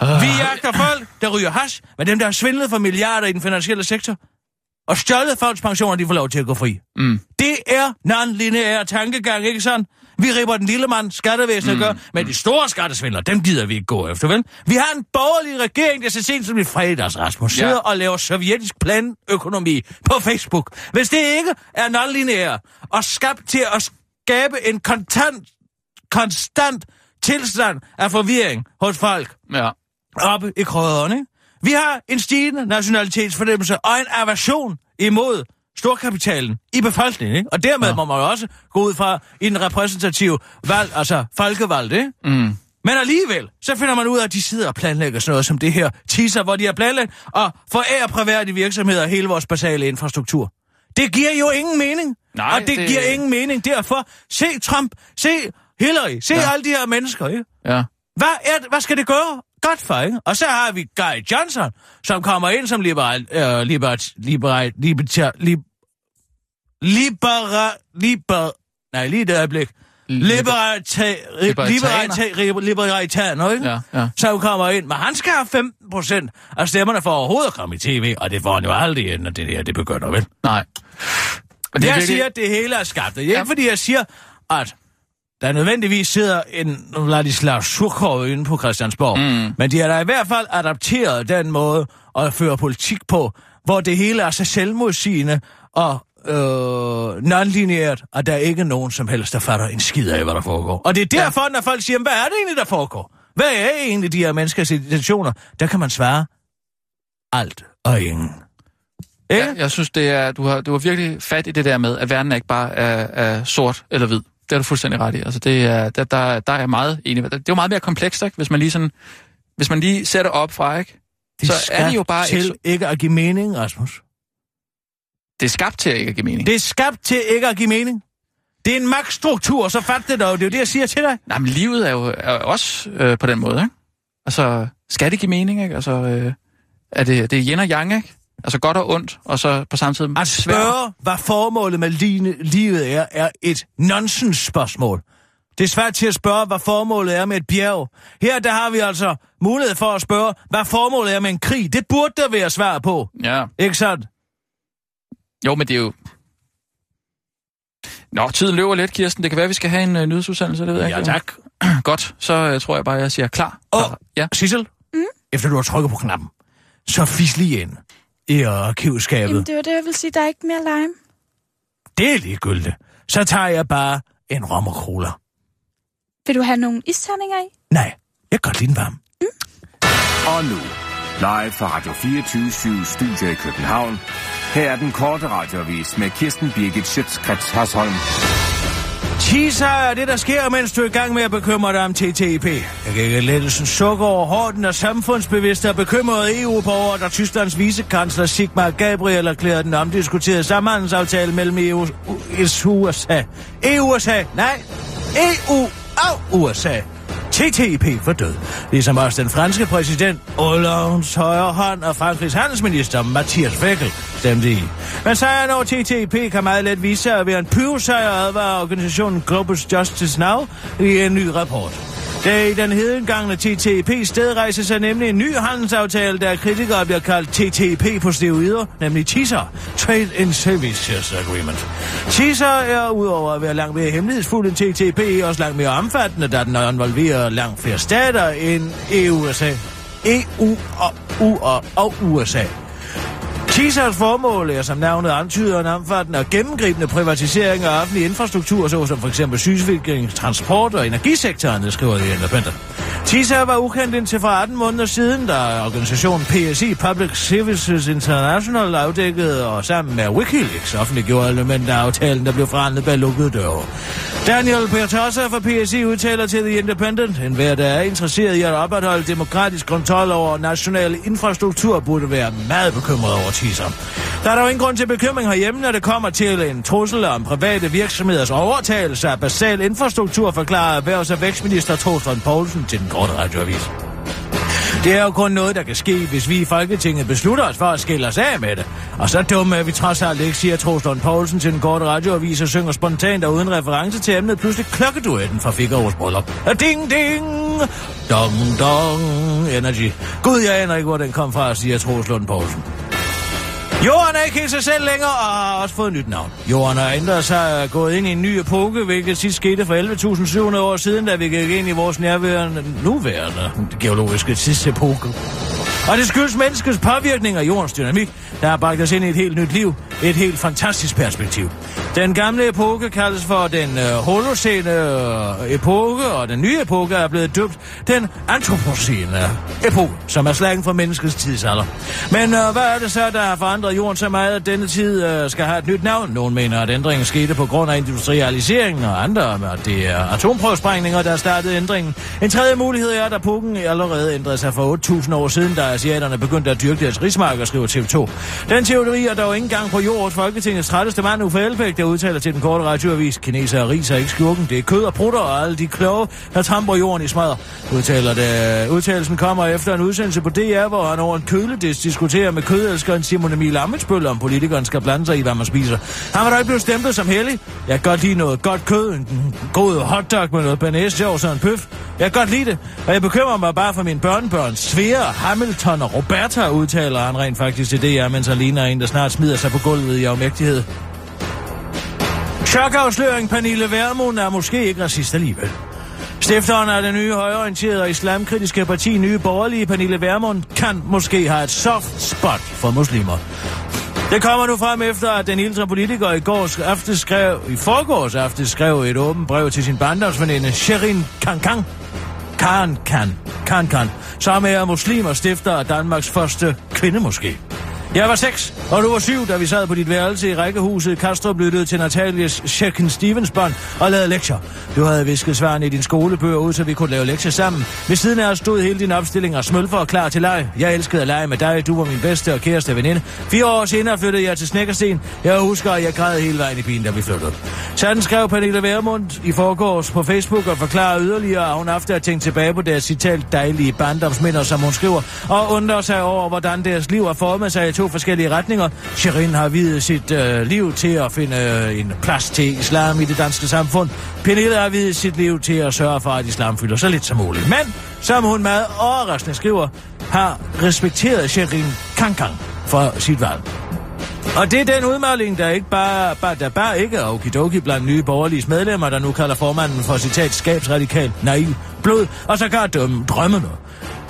[SPEAKER 5] Vi jagter folk, der ryger hash, men dem, der har svindlet for milliarder i den finansielle sektor, og stjålet folks pensioner, de får lov til at gå fri.
[SPEAKER 4] Mm.
[SPEAKER 5] Det er non-lineær tankegang, ikke sådan? Vi ripper den lille mand, skattevæsenet mm. gør, men de store skattesvindler, dem gider vi ikke gå efter, vel? Vi har en borgerlig regering, der så sent som i fredags, Rasmus,
[SPEAKER 4] Ja.
[SPEAKER 5] sidder og laver sovjetisk planøkonomi på Facebook. Hvis det ikke er non-lineær og skabt til at skabe en kontant, konstant tilstand af forvirring hos folk,
[SPEAKER 4] Ja.
[SPEAKER 5] oppe i krødderne. ikke? Vi har en stigende nationalitetsfornemmelse og en aversion imod storkapitalen i befolkningen, ikke? Og dermed ja. må man jo også gå ud fra i den repræsentative valg, altså folkevalg, ikke?
[SPEAKER 4] Mm.
[SPEAKER 5] Men alligevel, så finder man ud af, at de sidder og planlægger sådan noget som det her teaser, hvor de har planlagt og forærer private virksomheder hele vores basale infrastruktur. Det giver jo ingen mening.
[SPEAKER 4] Nej,
[SPEAKER 5] og det,
[SPEAKER 4] det-
[SPEAKER 5] det giver ingen mening. Derfor, se Trump, se Hillary, se
[SPEAKER 4] Ja.
[SPEAKER 5] ja. alle de her mennesker, ikke?
[SPEAKER 4] Ja.
[SPEAKER 5] Hvad, er, hvad skal det gøre? Godt for, ikke? Og så har vi Guy Johnson, som kommer ind som liberal... Øh, liberal... Liberal... Liberal... Liberal... Liberal... Nej, lige det øjeblik. Liberalitaner, liberalitaner, ikke?
[SPEAKER 4] Ja, ja.
[SPEAKER 5] Som kommer ind, men han skal have 15 procent af stemmerne for overhovedet at komme i tv, og det får han jo aldrig ind, når det der, det begynder, vel?
[SPEAKER 4] Nej. Men
[SPEAKER 5] Det jeg
[SPEAKER 4] virkelig-
[SPEAKER 5] siger, at det hele er skabt. Det er ikke
[SPEAKER 4] Ja.
[SPEAKER 5] ja. fordi, jeg siger, at der nødvendigvis sidder en Vladislav Surkov inde på Christiansborg. Mm. Men de har da i hvert fald adapteret den måde at føre politik på, hvor det hele er så selvmodsigende og øh, non-lineært, og der er ikke nogen som helst, der fatter en skid af, hvad der foregår. Og det er derfor, ja. når folk siger, "Men hvad er det egentlig, der foregår? Hvad er egentlig de her menneskers intentioner? Der kan man svare alt og ingen. Ikke?
[SPEAKER 4] Ja, jeg synes, det er, du, har, du har virkelig fat i det der med, at verden er ikke bare er, er sort eller hvid. Det er du fuldstændig ret i. Altså, det er, der, der, der er jeg meget enig. med dig. Det er jo meget mere komplekst, ikke? Hvis man lige sådan, hvis man lige ser det op fra, ikke?
[SPEAKER 5] Det
[SPEAKER 4] Så
[SPEAKER 5] så
[SPEAKER 4] er
[SPEAKER 5] er
[SPEAKER 4] det
[SPEAKER 5] det
[SPEAKER 4] jo
[SPEAKER 5] jo
[SPEAKER 4] bare
[SPEAKER 5] til
[SPEAKER 4] ikke-
[SPEAKER 5] ikke... ikke at give mening, Rasmus.
[SPEAKER 4] Det er skabt til at ikke at give mening.
[SPEAKER 5] Det er skabt til ikke at give mening. Det er en magtstruktur, så fat det dog. Det er jo det, jeg siger til dig.
[SPEAKER 4] Nej, men livet er jo er jo også øh, på den måde, ikke? Altså, skal det give mening, ikke? Altså, øh, er det, det er yin og yang, ikke? Altså godt og ondt, og så på samme tid
[SPEAKER 5] At spørge, hvad formålet med line- livet er, er et nonsens-spørgsmål. Det er svært til at spørge, hvad formålet er med et bjerg. Her der har vi altså mulighed for at spørge, hvad formålet er med en krig. Det burde der være svar på.
[SPEAKER 4] Ja.
[SPEAKER 5] Ikke sandt?
[SPEAKER 4] Jo, men det er jo... Nå, tiden løber lidt, Kirsten. Det kan være, vi skal have en øh, nyhedsudsendelse, det ved jeg ikke. *clears throat* Godt, så øh, tror jeg bare, jeg siger klar.
[SPEAKER 5] Åh.
[SPEAKER 4] Ja.
[SPEAKER 5] Sissel, mm? efter du har trykket på knappen, så fis lige ind i arkivskabet.
[SPEAKER 6] Jamen, det var det, jeg ville sige. Der er ikke mere lime.
[SPEAKER 5] Det er ligegyldigt. Så tager jeg bare en rom og cola.
[SPEAKER 6] Vil du have nogle isterninger i?
[SPEAKER 5] Nej, jeg kan godt lide den varm.
[SPEAKER 2] Og nu, live fra Radio 24 Studio i København. Her er den korte radiovis med Kirsten Birgit Schøtzgrads Hasholm.
[SPEAKER 5] Teaser er det, der sker, mens du er i gang med at bekymre dig om TTIP. Jeg kan ikke lettelsen sukker over hården af samfundsbevidste og bekymrede EU-borgere, da E Tysklands vicekansler Sigmar Gabriel erklærede den omdiskuterede samhandelsaftale mellem E EU og USA. EU-USA, nej, E EU og USA TTIP for død. Ligesom også den franske præsident Hollands højre hånd og Frankrigs handelsminister Mathias Weckel stemte i. Men sejren over TTIP kan meget let vise sig at være en pyrosejr, advarer organisationen Global Justice Now i en ny rapport. Der i den hedengangne TTP sted rejser sig nemlig en ny handelsaftale, der af kritikere bliver kaldt TTP på steroider, nemlig TISA, Trade and Services Agreement. TISA er udover at være langt mere hemmelighedsfuld end TTP, også langt mere omfattende, da den involverer langt flere stater end E EU-USA. EU og, E U og, og USA. TISAs formål er, som navnet antyder, en omfattende og gennemgribende privatisering af offentlig infrastruktur, såsom for eksempel sygesikring, transport og energisektoren, det skriver The Independent. TISA var ukendt indtil for 18 måneder siden, da organisationen PSI, Public Services International, afdækkede og sammen med Wikileaks offentliggjorde elementer af aftalen, der blev forhandlet bag lukkede døre. Daniel Pertosa fra PSI udtaler til The Independent, en hver, der er interesseret i at opretholde demokratisk kontrol over national infrastruktur, burde være meget bekymret over TISA. Der er dog ingen grund til bekymring herhjemme, når det kommer til en trussel om private virksomheders overtagelse af basal infrastruktur, forklarer erhvervs- og vækstminister Troels von Poulsen til den korte radioavis. Det er jo kun noget, der kan ske, hvis vi i Folketinget beslutter os for at skille os af med det. Og så dumme er vi trods alt ikke, siger Trostrøn Poulsen til den korte radioavis og synger spontant og uden reference til emnet pludselig klokkeduetten fra Figaro's bryllup. Og Ding, ding! Dong, dong! Energy. Gud, jeg aner ikke, hvor den kom fra, siger Trostrøn Poulsen. Jorden er ikke helt sig selv længere og har også fået nyt navn. Jorden har ændret sig og er gået ind i en ny epoke, hvilket sidst skete for 11.700 år siden, da vi gik ind i vores nærværende, nuværende geologiske tidsepoke. Og det skyldes menneskets påvirkning af jordens dynamik, der har bragt os ind i et helt nyt liv. Et helt fantastisk perspektiv. Den gamle epoke kaldes for den øh, holocene øh, epoke, og den nye epoke er blevet døbt den antropocene epoke, som er slangen for menneskets tidsalder. Men øh, hvad er det så, der har forandret jorden så meget, at denne tid øh, skal have et nyt navn? Nogen mener, at ændringen skete på grund af industrialiseringen, og andre, at det er atomprøvesprængninger, der startede ændringen. En tredje mulighed er, at epoken allerede ændrede sig for 8.000 år siden, da asiaterne begyndte at dyrke deres rismarker, skriver TV2. Den teori er dog ikke engang på jordens Folketingets trætteste mand, Uffe Elbæk, der udtaler til den korte radioavis, kineser og ris er ikke skurken, det er kød og prutter og alle de kloge, der tramper jorden i smadret. Udtaler det. Udtalelsen kommer efter en udsendelse på DR, hvor han over en køledis diskuterer med kødelskeren Simon Emil Amitsbøl, om politikeren skal blande sig i, hvad man spiser. Han var dog ikke blevet stemplet som hellig. Jeg kan godt lide noget godt kød, en god hotdog med noget banæs, og en bøf. Jeg kan godt lide det, og jeg bekymrer mig bare for mine børnebørn. Svea, Hamilton og Roberta udtaler han rent faktisk til DR, mens han ligner en, der snart smider sig på gulvet i afmægtighed. Chokafsløring Pernille Vermund er måske ikke racist alligevel. Stifteren af det nye højorienterede og islamkritiske parti Nye Borgerlige, Pernille Vermund, kan måske have et soft spot for muslimer. Det kommer nu frem efter, at den ældre politiker i går sk- aftes skrev, i forgårs aftes skrev et åbent brev til sin barndomsveninde, Sherin Kankang. Kan Kan, Kan Kan, som er muslim og stifter af Danmarks første kvindemoské. Jeg var seks, og du var syv, da vi sad på dit værelse i rækkehuset. Kastrup lyttede til Natalies Shekin Stevens bånd og lavede lektier. Du havde visket svarene i din skolebøger ud, så vi kunne lave lektier sammen. Ved siden af os stod hele din opstilling og smølfer og klar til leg. Jeg elskede at lege med dig, du var min bedste og kæreste veninde. Fire år senere flyttede jeg til Snækkersten. Jeg husker, at jeg græd hele vejen i bilen, da vi flyttede. Sådan skrev Pernille Vermund i forgårs på Facebook og forklarede yderligere, at hun efter at tænkt tilbage på deres citat dejlige barndomsminder, som hun skriver, og undrer sig over, hvordan deres liv har formet sig i to forskellige retninger. Shirin har videt sit øh, liv til at finde øh, en plads til islam i det danske samfund. Pernille har videt sit liv til at sørge for, at islam fylder så lidt som muligt. Men, som hun meget overraskende skriver, har respekteret Shirin Kankang for sit valg. Og det er den udmelding, der ikke bare, bare, der bare ikke er okidoki blandt nye borgerlige medlemmer, der nu kalder formanden for citat skabsradikal, naiv, blod og sågar dømme drømmene.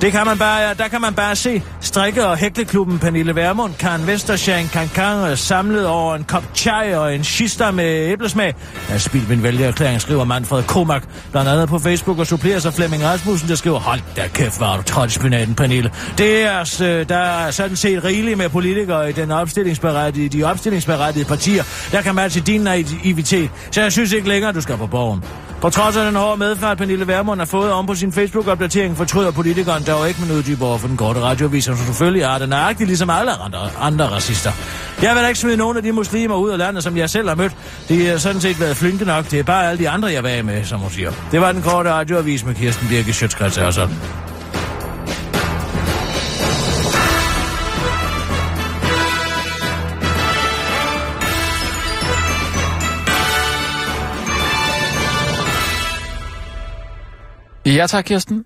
[SPEAKER 5] Det kan man bare, der kan man bare se strikke- og hækleklubben Pernille Vermund, Karen Vestersjæn, Kankang samlet over en kop chai og en shister med æblesmag. Jeg har spildt min vælgererklæring, skriver Manfred Komak, blandt andet på Facebook og supplerer sig Flemming Rasmussen, der skriver, hold da kæft, hvor er du trådt i spinaten, Pernille. Det er, s- øh, der er sådan set rigeligt med politikere i den opstillingsberettigede, de opstillingsberettigede partier, der kan matche din naivitet. Så jeg synes ikke længere, du skal på borgen. På trods af den hårde medfart, Pernille Vermund har fået om på sin Facebook-opdatering, fortryder politikeren dog ikke med uddyber over for den korte radioavis, som selvfølgelig er den agtig ligesom alle andre, andre racister. Jeg vil da ikke smide nogen af de muslimer ud af landet, som jeg selv har mødt. De har sådan set været flinke nok. Det er bare alle de andre, jeg var af med, som hun siger. Det var den korte radioavis med Kirsten Birke Sjøtskrets og sådan.
[SPEAKER 4] I Ja tak, Kirsten.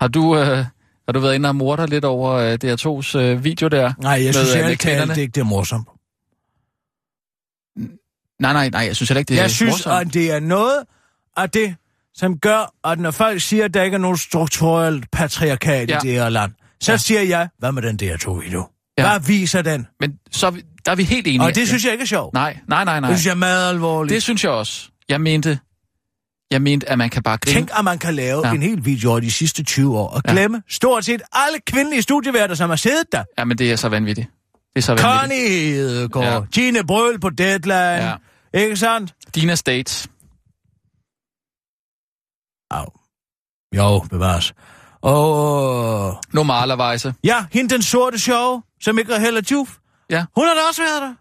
[SPEAKER 4] Har du, øh, har du været inde og morder lidt over øh, DR2's øh, video der?
[SPEAKER 5] Nej, jeg synes
[SPEAKER 4] øh, med
[SPEAKER 5] ærligt talt
[SPEAKER 4] kvinderne?
[SPEAKER 5] ikke, det er morsomt.
[SPEAKER 4] Nej, nej, nej, jeg synes heller ikke, det er
[SPEAKER 5] Jeg synes,
[SPEAKER 4] morsomt.
[SPEAKER 5] at det er noget af det, som gør, at når folk siger, at der ikke er nogen strukturelt patriarkat ja.
[SPEAKER 4] Ja.
[SPEAKER 5] i det her land, så
[SPEAKER 4] Ja.
[SPEAKER 5] ja. siger jeg, hvad med den der to video?
[SPEAKER 4] Ja.
[SPEAKER 5] Ja. Hvad viser den?
[SPEAKER 4] Men så er vi- der er vi helt enige.
[SPEAKER 5] Og det synes jeg ikke er sjovt.
[SPEAKER 4] Nej, nej, nej, nej.
[SPEAKER 5] Det synes jeg er meget alvorligt.
[SPEAKER 4] Det
[SPEAKER 5] Det...
[SPEAKER 4] synes jeg også. Jeg mente, jeg mente at man kan bare grine.
[SPEAKER 5] Tænk, at man kan lave
[SPEAKER 4] Ja.
[SPEAKER 5] ja. en hel video over de sidste 20 år og
[SPEAKER 4] Ja.
[SPEAKER 5] glemme stort set alle kvindelige studieværter, som har siddet der.
[SPEAKER 4] Ja, men det er så vanvittigt. Det er så vanvittigt.
[SPEAKER 5] Connie Hedegaard, ja. Gine Brøl på Deadline, ja. ikke sandt?
[SPEAKER 4] Dina States.
[SPEAKER 5] Au. Jo, bevares. Og...
[SPEAKER 4] Normalerweise.
[SPEAKER 5] Ja, hende den sorte sjove, som ikke er heller Juf.
[SPEAKER 4] Ja.
[SPEAKER 5] Hun har da også været der.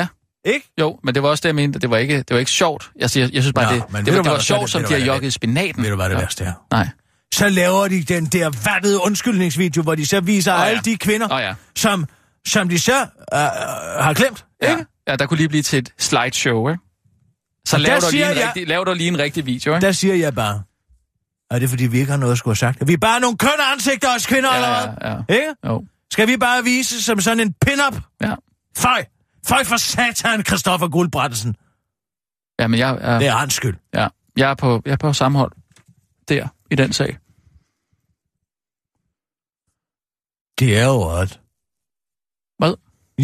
[SPEAKER 4] Ja.
[SPEAKER 5] Ikke?
[SPEAKER 4] Jo, men det var også det, jeg mente. Det var ikke, det var ikke sjovt. Jeg, siger, jeg synes bare,
[SPEAKER 5] Nå,
[SPEAKER 4] det, det,
[SPEAKER 5] men ved
[SPEAKER 4] det, var,
[SPEAKER 5] du
[SPEAKER 4] det
[SPEAKER 5] hvad,
[SPEAKER 4] var
[SPEAKER 5] så er
[SPEAKER 4] sjovt,
[SPEAKER 5] det-
[SPEAKER 4] som
[SPEAKER 5] ved du
[SPEAKER 4] de
[SPEAKER 5] hvad,
[SPEAKER 4] har
[SPEAKER 5] det-
[SPEAKER 4] jokket i spinaten.
[SPEAKER 5] Ved du, hvad det
[SPEAKER 4] Mm. Ja.
[SPEAKER 5] værste er?
[SPEAKER 4] Nej.
[SPEAKER 5] Så laver de den der vattede undskyldningsvideo, hvor de så viser
[SPEAKER 4] Åh,
[SPEAKER 5] oh,
[SPEAKER 4] ja.
[SPEAKER 5] alle de kvinder,
[SPEAKER 4] Åh, ja.
[SPEAKER 5] som, som de så øh, øh, har glemt.
[SPEAKER 4] Ja.
[SPEAKER 5] Ikke?
[SPEAKER 4] ja, der kunne lige blive til et slideshow, ikke? Så
[SPEAKER 5] Og
[SPEAKER 4] lav
[SPEAKER 5] der
[SPEAKER 4] der, lige
[SPEAKER 5] siger
[SPEAKER 4] en
[SPEAKER 5] jeg-
[SPEAKER 4] rigtig, lav der lige en rigtig video, ikke?
[SPEAKER 5] Der siger jeg bare, er det fordi, vi ikke har noget at skulle have sagt? Vi er bare nogle kønne ansigter os kvinder,
[SPEAKER 4] Ja,
[SPEAKER 5] eller
[SPEAKER 4] ja,
[SPEAKER 5] hvad?
[SPEAKER 4] ja.
[SPEAKER 5] Ikke?
[SPEAKER 4] Jo,
[SPEAKER 5] Skal vi bare vise som sådan en pin-up?
[SPEAKER 4] ja.
[SPEAKER 5] Føj! Føj for satan, Christoffer Guldbrandsen.
[SPEAKER 4] Ja, men jeg,
[SPEAKER 5] Ja. Det
[SPEAKER 4] jeg,
[SPEAKER 5] er hans skyld.
[SPEAKER 4] ja, jeg, er på, jeg er på samme hold der i den sag.
[SPEAKER 5] Det er jo alt.
[SPEAKER 4] Hvad?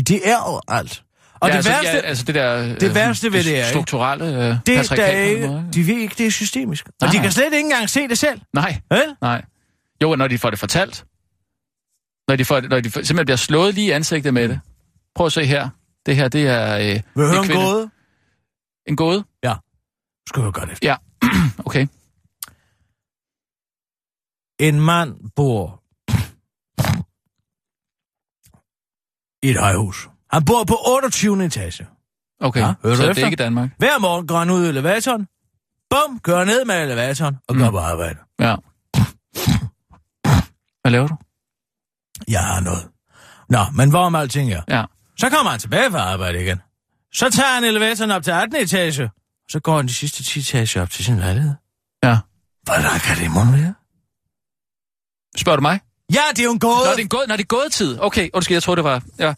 [SPEAKER 5] Det er jo alt. Og ja, det
[SPEAKER 4] altså,
[SPEAKER 5] værste...
[SPEAKER 4] ja, altså det der... øh,
[SPEAKER 5] det værste ved det er, ikke?
[SPEAKER 4] Strukturelle øh,
[SPEAKER 5] Det, der
[SPEAKER 4] patriarkat på en
[SPEAKER 5] ikke,
[SPEAKER 4] måde, ikke?
[SPEAKER 5] de ved ikke, det er systemisk. Og
[SPEAKER 4] Nej,
[SPEAKER 5] de
[SPEAKER 4] nej.
[SPEAKER 5] kan slet ikke engang se det selv.
[SPEAKER 4] Nej,
[SPEAKER 5] Vel?
[SPEAKER 4] nej. Jo, og når de får det fortalt. Når de, får, når de får, simpelthen bliver slået lige i ansigtet med det. Prøv at se her. Det her, det er... Øh, det
[SPEAKER 5] Mm.
[SPEAKER 4] er
[SPEAKER 5] Vil du høre en
[SPEAKER 4] kvinde.
[SPEAKER 5] gåde?
[SPEAKER 4] En gåde?
[SPEAKER 5] Skal du godt efter.
[SPEAKER 4] Okay.
[SPEAKER 5] En mand bor i et højhus. Han bor på 28. etage.
[SPEAKER 4] Okay,
[SPEAKER 5] Ja, hører
[SPEAKER 4] så
[SPEAKER 5] du
[SPEAKER 4] det
[SPEAKER 5] efter?
[SPEAKER 4] er ikke Danmark.
[SPEAKER 5] Hver morgen går han ud i elevatoren. Bum, kører ned med elevatoren og går
[SPEAKER 4] Mm.
[SPEAKER 5] på arbejde.
[SPEAKER 4] Ja. Hvad laver du?
[SPEAKER 5] Jeg har noget. Nå, men hvorom alting er.
[SPEAKER 4] Ja.
[SPEAKER 5] Så kommer han tilbage fra arbejde igen. Så tager han elevatoren op til 18. etage. Så går han de sidste 10 etager op til sin lejlighed.
[SPEAKER 4] Ja.
[SPEAKER 5] Hvordan kan det i morgen være?
[SPEAKER 4] Spørger du mig?
[SPEAKER 5] Ja, det er jo en gåde.
[SPEAKER 4] Nå, det er, gå- Nå, det er gådetid. Okay, undskyld, jeg troede, det var... Ja.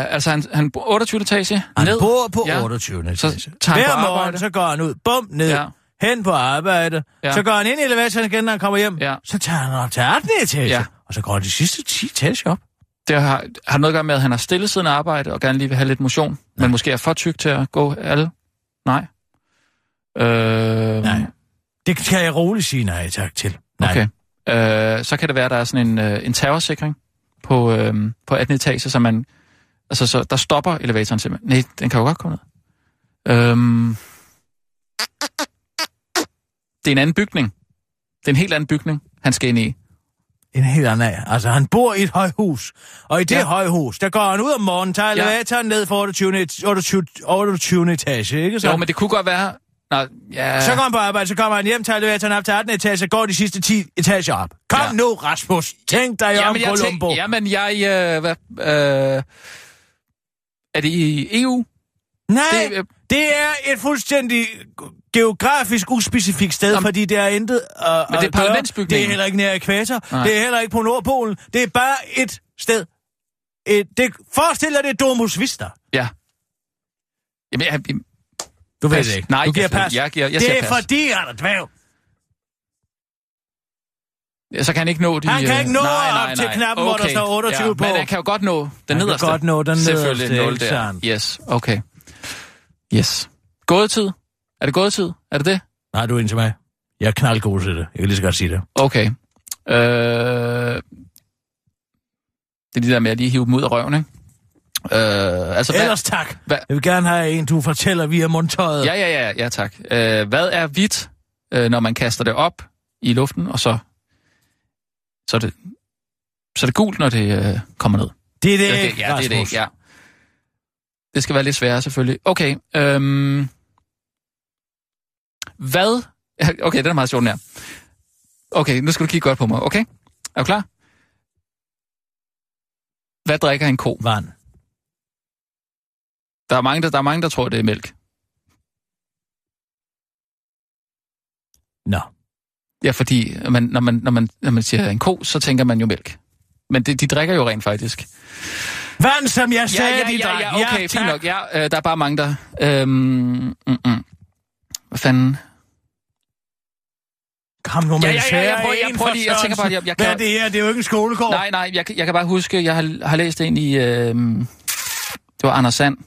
[SPEAKER 4] Øh, altså, han, han bor 28 etage
[SPEAKER 5] Han
[SPEAKER 4] ned.
[SPEAKER 5] bor på
[SPEAKER 4] Ja.
[SPEAKER 5] ja. 28.
[SPEAKER 4] Så
[SPEAKER 5] etage.
[SPEAKER 4] tager han på
[SPEAKER 5] Hver morgen,
[SPEAKER 4] arbejde.
[SPEAKER 5] så går han ud, bum, ned,
[SPEAKER 4] Ja.
[SPEAKER 5] ja. hen på arbejde.
[SPEAKER 4] Ja.
[SPEAKER 5] Ja. Så går han ind i elevatoren igen, når han kommer hjem.
[SPEAKER 4] Ja.
[SPEAKER 5] Så tager han op til 18. etage.
[SPEAKER 4] Ja.
[SPEAKER 5] Ja. Og så går han de sidste 10 etager op.
[SPEAKER 4] Det har, har noget at gøre med, at han har stillet siden arbejde og gerne lige vil have lidt motion, Nej. men måske er for tyk til at gå alle. Nej. Øh,
[SPEAKER 5] Nej. Det kan jeg roligt sige nej tak til. Nej.
[SPEAKER 4] Okay. Øh, så kan det være, at der er sådan en, øh, en terrorsikring på, øh, på 18. etage, så man... Altså, så der stopper elevatoren simpelthen. Nej, den kan jo godt komme ned. Øhm, det er en anden bygning. Det er en helt anden bygning, han skal ind i.
[SPEAKER 5] En helt anden af. Altså, han bor i et højhus. Og i det
[SPEAKER 4] Ja.
[SPEAKER 5] ja. højhus, der går han ud om morgenen, tager
[SPEAKER 4] Ja.
[SPEAKER 5] elevatoren ned for 28. et- 28, 28 etage, ikke så?
[SPEAKER 4] Jo, men det kunne godt være... Nå, ja,
[SPEAKER 5] Så går han på arbejde, så kommer han hjem, tager elevatoren op til 18. etage, og går de sidste 10 etager op. Kom
[SPEAKER 4] Ja.
[SPEAKER 5] ja. nu, Rasmus. Tænk dig om,
[SPEAKER 4] jeg
[SPEAKER 5] Columbo.
[SPEAKER 4] tænk- jamen, jeg... Øh, hvad, øh, er det i E EU?
[SPEAKER 5] Nej,
[SPEAKER 4] Det, øh,
[SPEAKER 5] det, det er et fuldstændig geografisk uspecifikt sted,
[SPEAKER 4] Nå, men-
[SPEAKER 5] Jamen, fordi det er intet øh,
[SPEAKER 4] Men det er
[SPEAKER 5] Det er
[SPEAKER 4] parlamentsbygningen.
[SPEAKER 5] heller ikke nær ekvator.
[SPEAKER 4] Nej.
[SPEAKER 5] Nej. Det er heller ikke på Nordpolen. Det er bare et sted. Et, det, forestil dig, det er Domus Vista.
[SPEAKER 4] Ja. Jamen, jeg, jeg,
[SPEAKER 5] Du
[SPEAKER 4] Pas. Nej,
[SPEAKER 5] du giver
[SPEAKER 4] jeg-
[SPEAKER 5] pas.
[SPEAKER 4] jeg giver- jeg siger
[SPEAKER 5] det er
[SPEAKER 4] pas.
[SPEAKER 5] fordi, han er dværg.
[SPEAKER 4] Ja, så kan han ikke nå de...
[SPEAKER 5] Han kan
[SPEAKER 4] øh,
[SPEAKER 5] ikke nå
[SPEAKER 4] nej, nej,
[SPEAKER 5] op
[SPEAKER 4] nej.
[SPEAKER 5] til knappen, hvor der står 28 på.
[SPEAKER 4] Men han kan jo godt nå den
[SPEAKER 5] kan
[SPEAKER 4] nederste.
[SPEAKER 5] godt nå den
[SPEAKER 4] Selvfølgelig
[SPEAKER 5] nederste,
[SPEAKER 4] nul
[SPEAKER 5] ikke
[SPEAKER 4] der.
[SPEAKER 5] sandt?
[SPEAKER 4] Yes, okay. Yes. Gådetid? Er det gådetid? Er det det?
[SPEAKER 5] Nej, du er en til mig. Jeg er knaldgod til det. Jeg kan lige så godt sige det.
[SPEAKER 4] Okay. Øh... Det er det der med at lige hive dem ud af røven, ikke? Øh, altså,
[SPEAKER 5] Ellers tak.
[SPEAKER 4] Hvad?
[SPEAKER 5] Jeg vil gerne have en, du fortæller via mundtøjet.
[SPEAKER 4] hvad, ja, ja, ja, ja, tak. Øh, hvad er hvidt, øh, når man kaster det op i luften, og så, så, er, det, så er det gult, når det øh, kommer ned?
[SPEAKER 5] Det er det,
[SPEAKER 4] Eller
[SPEAKER 5] ikke,
[SPEAKER 4] ja, det er det
[SPEAKER 5] Rasmus.
[SPEAKER 4] ikke, ja. Det skal være lidt sværere, selvfølgelig. Okay, øhm, hvad... *laughs* Okay, den er meget sjov, den her. Okay, nu skal du kigge godt på mig, okay? Er du klar? Hvad drikker en ko?
[SPEAKER 5] Vand.
[SPEAKER 4] Der er mange, der, der, er mange, der tror, det er mælk.
[SPEAKER 5] Nå.
[SPEAKER 4] Ja, fordi man, når, man, når, man, når man siger en ko, så tænker man jo mælk. Men det, de drikker jo rent faktisk.
[SPEAKER 5] Vand, som jeg sagde,
[SPEAKER 4] ja,
[SPEAKER 5] de
[SPEAKER 4] ja,
[SPEAKER 5] drak.
[SPEAKER 4] ja, okay,
[SPEAKER 5] tak.
[SPEAKER 4] fint nok. Ja, øh, der er bare mange der. Øhm, mm, mm. Hvad fanden?
[SPEAKER 5] Kom nu,
[SPEAKER 4] Ja,
[SPEAKER 5] men
[SPEAKER 4] ja, ja, jeg prøver- jeg prøver lige- jeg tænker bare, jeg- jeg
[SPEAKER 5] Hvad
[SPEAKER 4] kan-
[SPEAKER 5] er det her? Det er jo ikke en skolegård.
[SPEAKER 4] Nej, nej, jeg, kan- jeg kan bare huske, jeg har, har læst en i... Øhm, det var Anders Sand.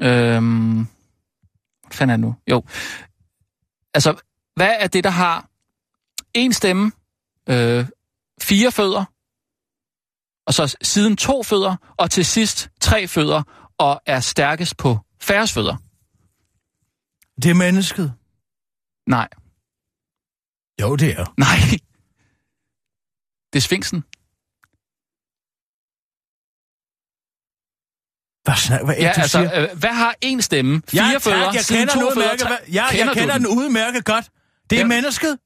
[SPEAKER 4] Øhm, hvad fanden er det nu? Jo. Altså, hvad er det, der har en stemme, øh, fire fødder, og så siden to fødder, og til sidst tre fødder, og er stærkest på færres fødder?
[SPEAKER 5] Det er mennesket.
[SPEAKER 4] Nej,
[SPEAKER 5] Jo, det er.
[SPEAKER 4] nej. Det er Sfinksen.
[SPEAKER 5] Hvad snak, hvad er
[SPEAKER 4] Ja,
[SPEAKER 5] det, du
[SPEAKER 4] altså,
[SPEAKER 5] siger?
[SPEAKER 4] øh, hvad har en stemme, fire
[SPEAKER 5] ja,
[SPEAKER 4] fødder,
[SPEAKER 5] tak, jeg
[SPEAKER 4] siden
[SPEAKER 5] kender,
[SPEAKER 4] to
[SPEAKER 5] den
[SPEAKER 4] fødder,
[SPEAKER 5] udmærket,
[SPEAKER 4] tre...
[SPEAKER 5] hvad- ja, jeg
[SPEAKER 4] Kender du
[SPEAKER 5] kender den udmærket godt. Det er
[SPEAKER 4] Ja.
[SPEAKER 5] mennesket.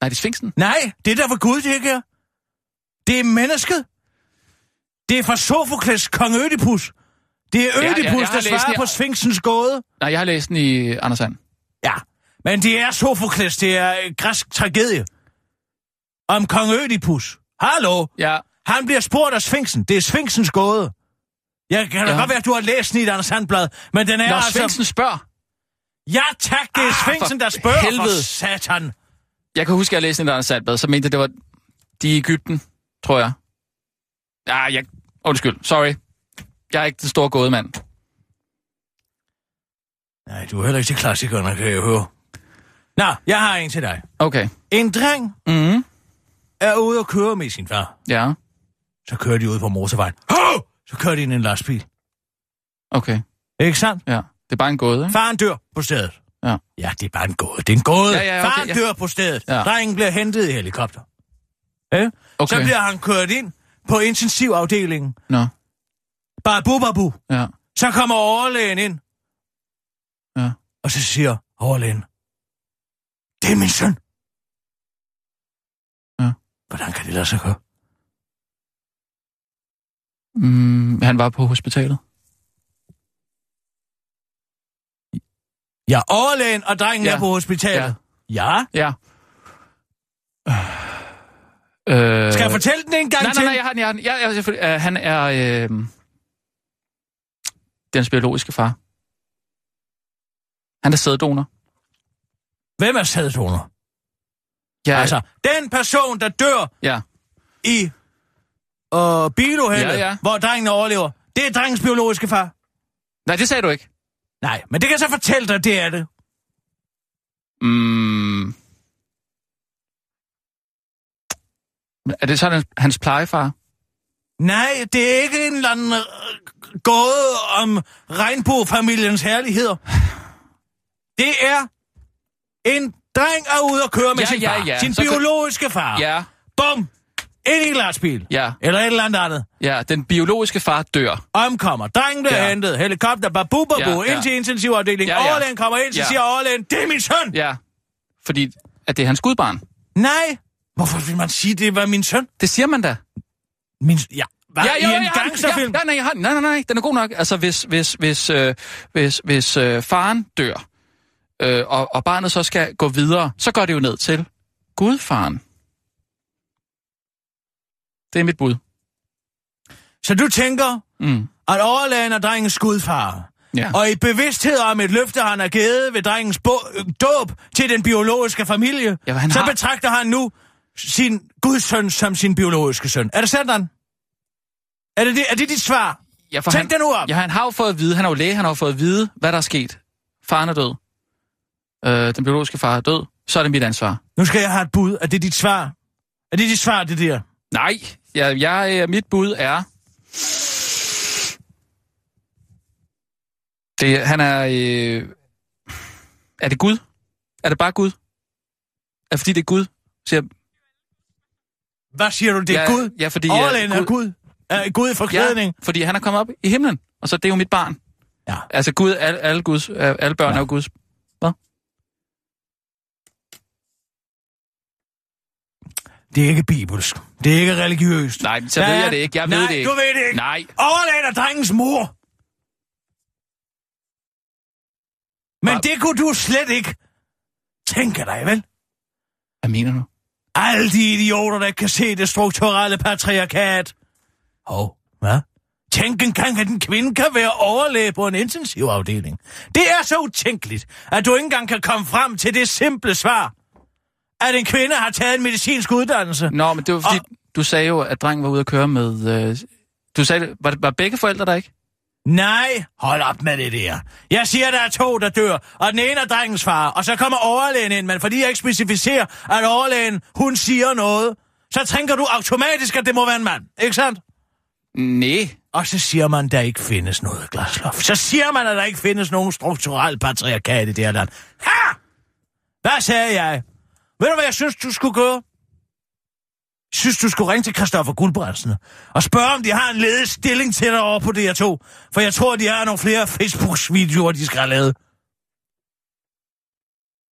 [SPEAKER 4] Nej, det er Sfinksen.
[SPEAKER 5] Nej, det er der for Gud, det ikke er. Det er mennesket. Det er fra Sofokles kong Ødipus. Det er
[SPEAKER 4] ja, jeg
[SPEAKER 5] Ødipus, ja, ja,
[SPEAKER 4] har
[SPEAKER 5] der
[SPEAKER 4] læst den,
[SPEAKER 5] svarer
[SPEAKER 4] jeg-
[SPEAKER 5] på Sfinksens gåde.
[SPEAKER 4] Nej, jeg har læst den i Anders Sand.
[SPEAKER 5] Ja, men det er Sofokles, det er en græsk tragedie. Om kong Ødipus. Hallo?
[SPEAKER 4] Ja,
[SPEAKER 5] Han bliver spurgt af Sfinksen. Det er Sfinksens gåde. Jeg kan da
[SPEAKER 4] Ja.
[SPEAKER 5] godt være, at du har læst den i et andet sandblad, men den er
[SPEAKER 4] Nå,
[SPEAKER 5] altså...
[SPEAKER 4] Svendsen spørger.
[SPEAKER 5] Ja tak, det er
[SPEAKER 4] Ah,
[SPEAKER 5] Sfinksen,
[SPEAKER 4] for
[SPEAKER 5] der spørger
[SPEAKER 4] helvede.
[SPEAKER 5] for satan.
[SPEAKER 4] Jeg kan huske, at jeg læste en Anders Sandbad, så mente jeg, det var de i Ægypten, tror jeg. Ja, jeg... Undskyld, sorry. Jeg er ikke den store gåde mand.
[SPEAKER 5] Nej, du er heller ikke til klassikerne, kan jeg høre. Nå, jeg har en til dig.
[SPEAKER 4] Okay.
[SPEAKER 5] En dreng
[SPEAKER 4] Mm,
[SPEAKER 5] er ude og køre med sin far.
[SPEAKER 4] ja,
[SPEAKER 5] Så kører de ud på motorvejen. Hov! Så kører de ind i en lastbil.
[SPEAKER 4] okay.
[SPEAKER 5] Ikke sandt?
[SPEAKER 4] Ja. Det er bare en gåde, ikke?
[SPEAKER 5] Faren dør på stedet.
[SPEAKER 4] Ja.
[SPEAKER 5] Ja, det er bare en gåde. Det er en gåde.
[SPEAKER 4] Ja, ja, okay,
[SPEAKER 5] Faren
[SPEAKER 4] ja.
[SPEAKER 5] dør på stedet.
[SPEAKER 4] Ja.
[SPEAKER 5] Drengen bliver hentet i helikopter. Ja? Okay. Så
[SPEAKER 4] Okay.
[SPEAKER 5] bliver han kørt ind på intensivafdelingen.
[SPEAKER 4] Nå,
[SPEAKER 5] Babu, babu.
[SPEAKER 4] ja.
[SPEAKER 5] Så kommer overlægen ind.
[SPEAKER 4] Ja.
[SPEAKER 5] Og så siger overlægen, det er min søn.
[SPEAKER 4] Ja.
[SPEAKER 5] Hvordan kan det lade sig gøre?
[SPEAKER 4] Mm, han var på hospitalet.
[SPEAKER 5] Ja, overlægen og drengen
[SPEAKER 4] Ja.
[SPEAKER 5] ja. er på hospitalet. Ja. ja.
[SPEAKER 4] Ja. Øh...
[SPEAKER 5] Skal jeg fortælle den en gang
[SPEAKER 4] nej,
[SPEAKER 5] til?
[SPEAKER 4] nej, nej, jeg har den, jeg har den. Jeg, jeg, selvfølgelig, øh, han er øh, dens biologiske far. Han er sæddonor.
[SPEAKER 5] Hvem er sæddoner?
[SPEAKER 4] Ja,
[SPEAKER 5] Ja. Altså, den person, der dør
[SPEAKER 4] ja,
[SPEAKER 5] i øh, biluheldet,
[SPEAKER 4] Ja, ja.
[SPEAKER 5] hvor drengen overlever, det er drengens biologiske far.
[SPEAKER 4] Nej, det sagde du ikke.
[SPEAKER 5] Nej, men det kan jeg så fortælle dig, det er det.
[SPEAKER 4] Mm. Er det så hans, hans plejefar?
[SPEAKER 5] Nej, det er ikke en eller anden øh, gåde om regnbuefamiliens herligheder. Det er en dreng, der er ude og køre med
[SPEAKER 4] Ja,
[SPEAKER 5] sin
[SPEAKER 4] ja,
[SPEAKER 5] far.
[SPEAKER 4] ja.
[SPEAKER 5] Sin
[SPEAKER 4] Så kan-
[SPEAKER 5] biologiske far.
[SPEAKER 4] Ja,
[SPEAKER 5] Bum! Ind i en lastbil.
[SPEAKER 4] ja,
[SPEAKER 5] Eller et eller andet andet.
[SPEAKER 4] ja. Den biologiske far dør.
[SPEAKER 5] Omkommer. Drengen bliver
[SPEAKER 4] Ja.
[SPEAKER 5] ja. hentet. Helikopter. Babu, babu.
[SPEAKER 4] Ja,
[SPEAKER 5] Ja,
[SPEAKER 4] ja.
[SPEAKER 5] ja. Ind til intensivafdelingen.
[SPEAKER 4] Ja,
[SPEAKER 5] Ja,
[SPEAKER 4] ja.
[SPEAKER 5] ja. Overlægen kommer ind, så
[SPEAKER 4] Ja.
[SPEAKER 5] ja. siger overlægen, det er min søn! Ja.
[SPEAKER 4] Ja, fordi at det er hans gudbarn.
[SPEAKER 5] Nej! Hvorfor vil man sige, det var min søn?
[SPEAKER 4] Det siger man da.
[SPEAKER 5] Min, ja, var
[SPEAKER 4] Ja, ja,
[SPEAKER 5] i
[SPEAKER 4] ja,
[SPEAKER 5] en
[SPEAKER 4] ja,
[SPEAKER 5] gangsterfilm?
[SPEAKER 4] Ja, nej, nej, jeg har den. nej, nej, nej, den er god nok. Altså, hvis, hvis, hvis, øh, hvis, hvis øh, faren dør, øh, og, og barnet så skal gå videre, så går det jo ned til gudfaren. Det er mit bud.
[SPEAKER 5] Så du tænker,
[SPEAKER 4] Mm.
[SPEAKER 5] at overlægen er drengens skudfar.
[SPEAKER 4] Ja.
[SPEAKER 5] Og i bevidsthed om et løfte, han har givet ved drengens bo- øh, dåb til den biologiske familie,
[SPEAKER 4] Ja, hvad han
[SPEAKER 5] så
[SPEAKER 4] har-
[SPEAKER 5] betragter han nu sin gudsøn som sin biologiske søn. Er det sådan? Er det, det, er det dit svar?
[SPEAKER 4] Ja, for
[SPEAKER 5] Tænk
[SPEAKER 4] han,
[SPEAKER 5] det nu om.
[SPEAKER 4] Ja, han har jo fået at vide, han er jo læge, han har jo fået at vide, hvad der er sket. Faren er død. Øh, den biologiske far er død. Så er det mit ansvar.
[SPEAKER 5] Nu skal jeg have et bud. Er det dit svar? Er det dit svar, det der?
[SPEAKER 4] Nej, jeg, jeg, øh, mit bud er... Det, han er... Øh... Er det Gud? Er det bare Gud? Er det fordi, det er Gud? Siger,
[SPEAKER 5] Hvad siger du? Det er
[SPEAKER 4] ja,
[SPEAKER 5] Gud?
[SPEAKER 4] Ja, fordi... øh,
[SPEAKER 5] Overlægen er Gud. Er Gud i forklædning?
[SPEAKER 4] Ja, fordi han er kommet op i himlen, og så det er jo mit barn.
[SPEAKER 5] Ja.
[SPEAKER 4] Altså Gud, alle, alle, Guds, alle børn ja.
[SPEAKER 5] Ja.
[SPEAKER 4] er jo Guds.
[SPEAKER 5] Det er ikke bibelsk. Det er ikke religiøst.
[SPEAKER 4] Nej, men så ved jeg det ikke. Jeg ved
[SPEAKER 5] Nej,
[SPEAKER 4] det ikke.
[SPEAKER 5] du ved det ikke.
[SPEAKER 4] Nej.
[SPEAKER 5] Overlægen er drengens mor. Men
[SPEAKER 4] Hva-
[SPEAKER 5] det kunne du slet ikke tænke dig, vel?
[SPEAKER 4] Hvad mener du?
[SPEAKER 5] Alle de idioter, der ikke kan se det strukturelle patriarkat. Hov, hvad? Tænk engang, at en kvinde kan være overlæge på en intensivafdeling. Det er så utænkeligt, at du ikke engang kan komme frem til det simple svar, at en kvinde har taget en medicinsk uddannelse.
[SPEAKER 4] Nå, men det var fordi, og... du sagde jo, at drengen var ude at køre med... Øh... Du sagde, var, var begge forældre der ikke?
[SPEAKER 5] Nej, hold op med det der. Jeg siger, der er to, der dør, og den ene er drengens far, og så kommer overlægen ind, men fordi jeg ikke specificerer, at overlægen, hun siger noget, så tænker du automatisk, at det må være en mand, ikke sandt?
[SPEAKER 4] Nej.
[SPEAKER 5] Og så siger man, at der ikke findes noget glasloft. Så siger man, at der ikke findes nogen strukturel patriarkat i det her land. Ha! Hvad sagde jeg? Ved du, hvad jeg synes, du skulle gøre? synes, du skulle ringe til Christoffer Guldbrandsen og spørge, om de har en ledig stilling til dig over på DR2. For jeg tror, de har nogle flere Facebook-videoer, de skal have lavet.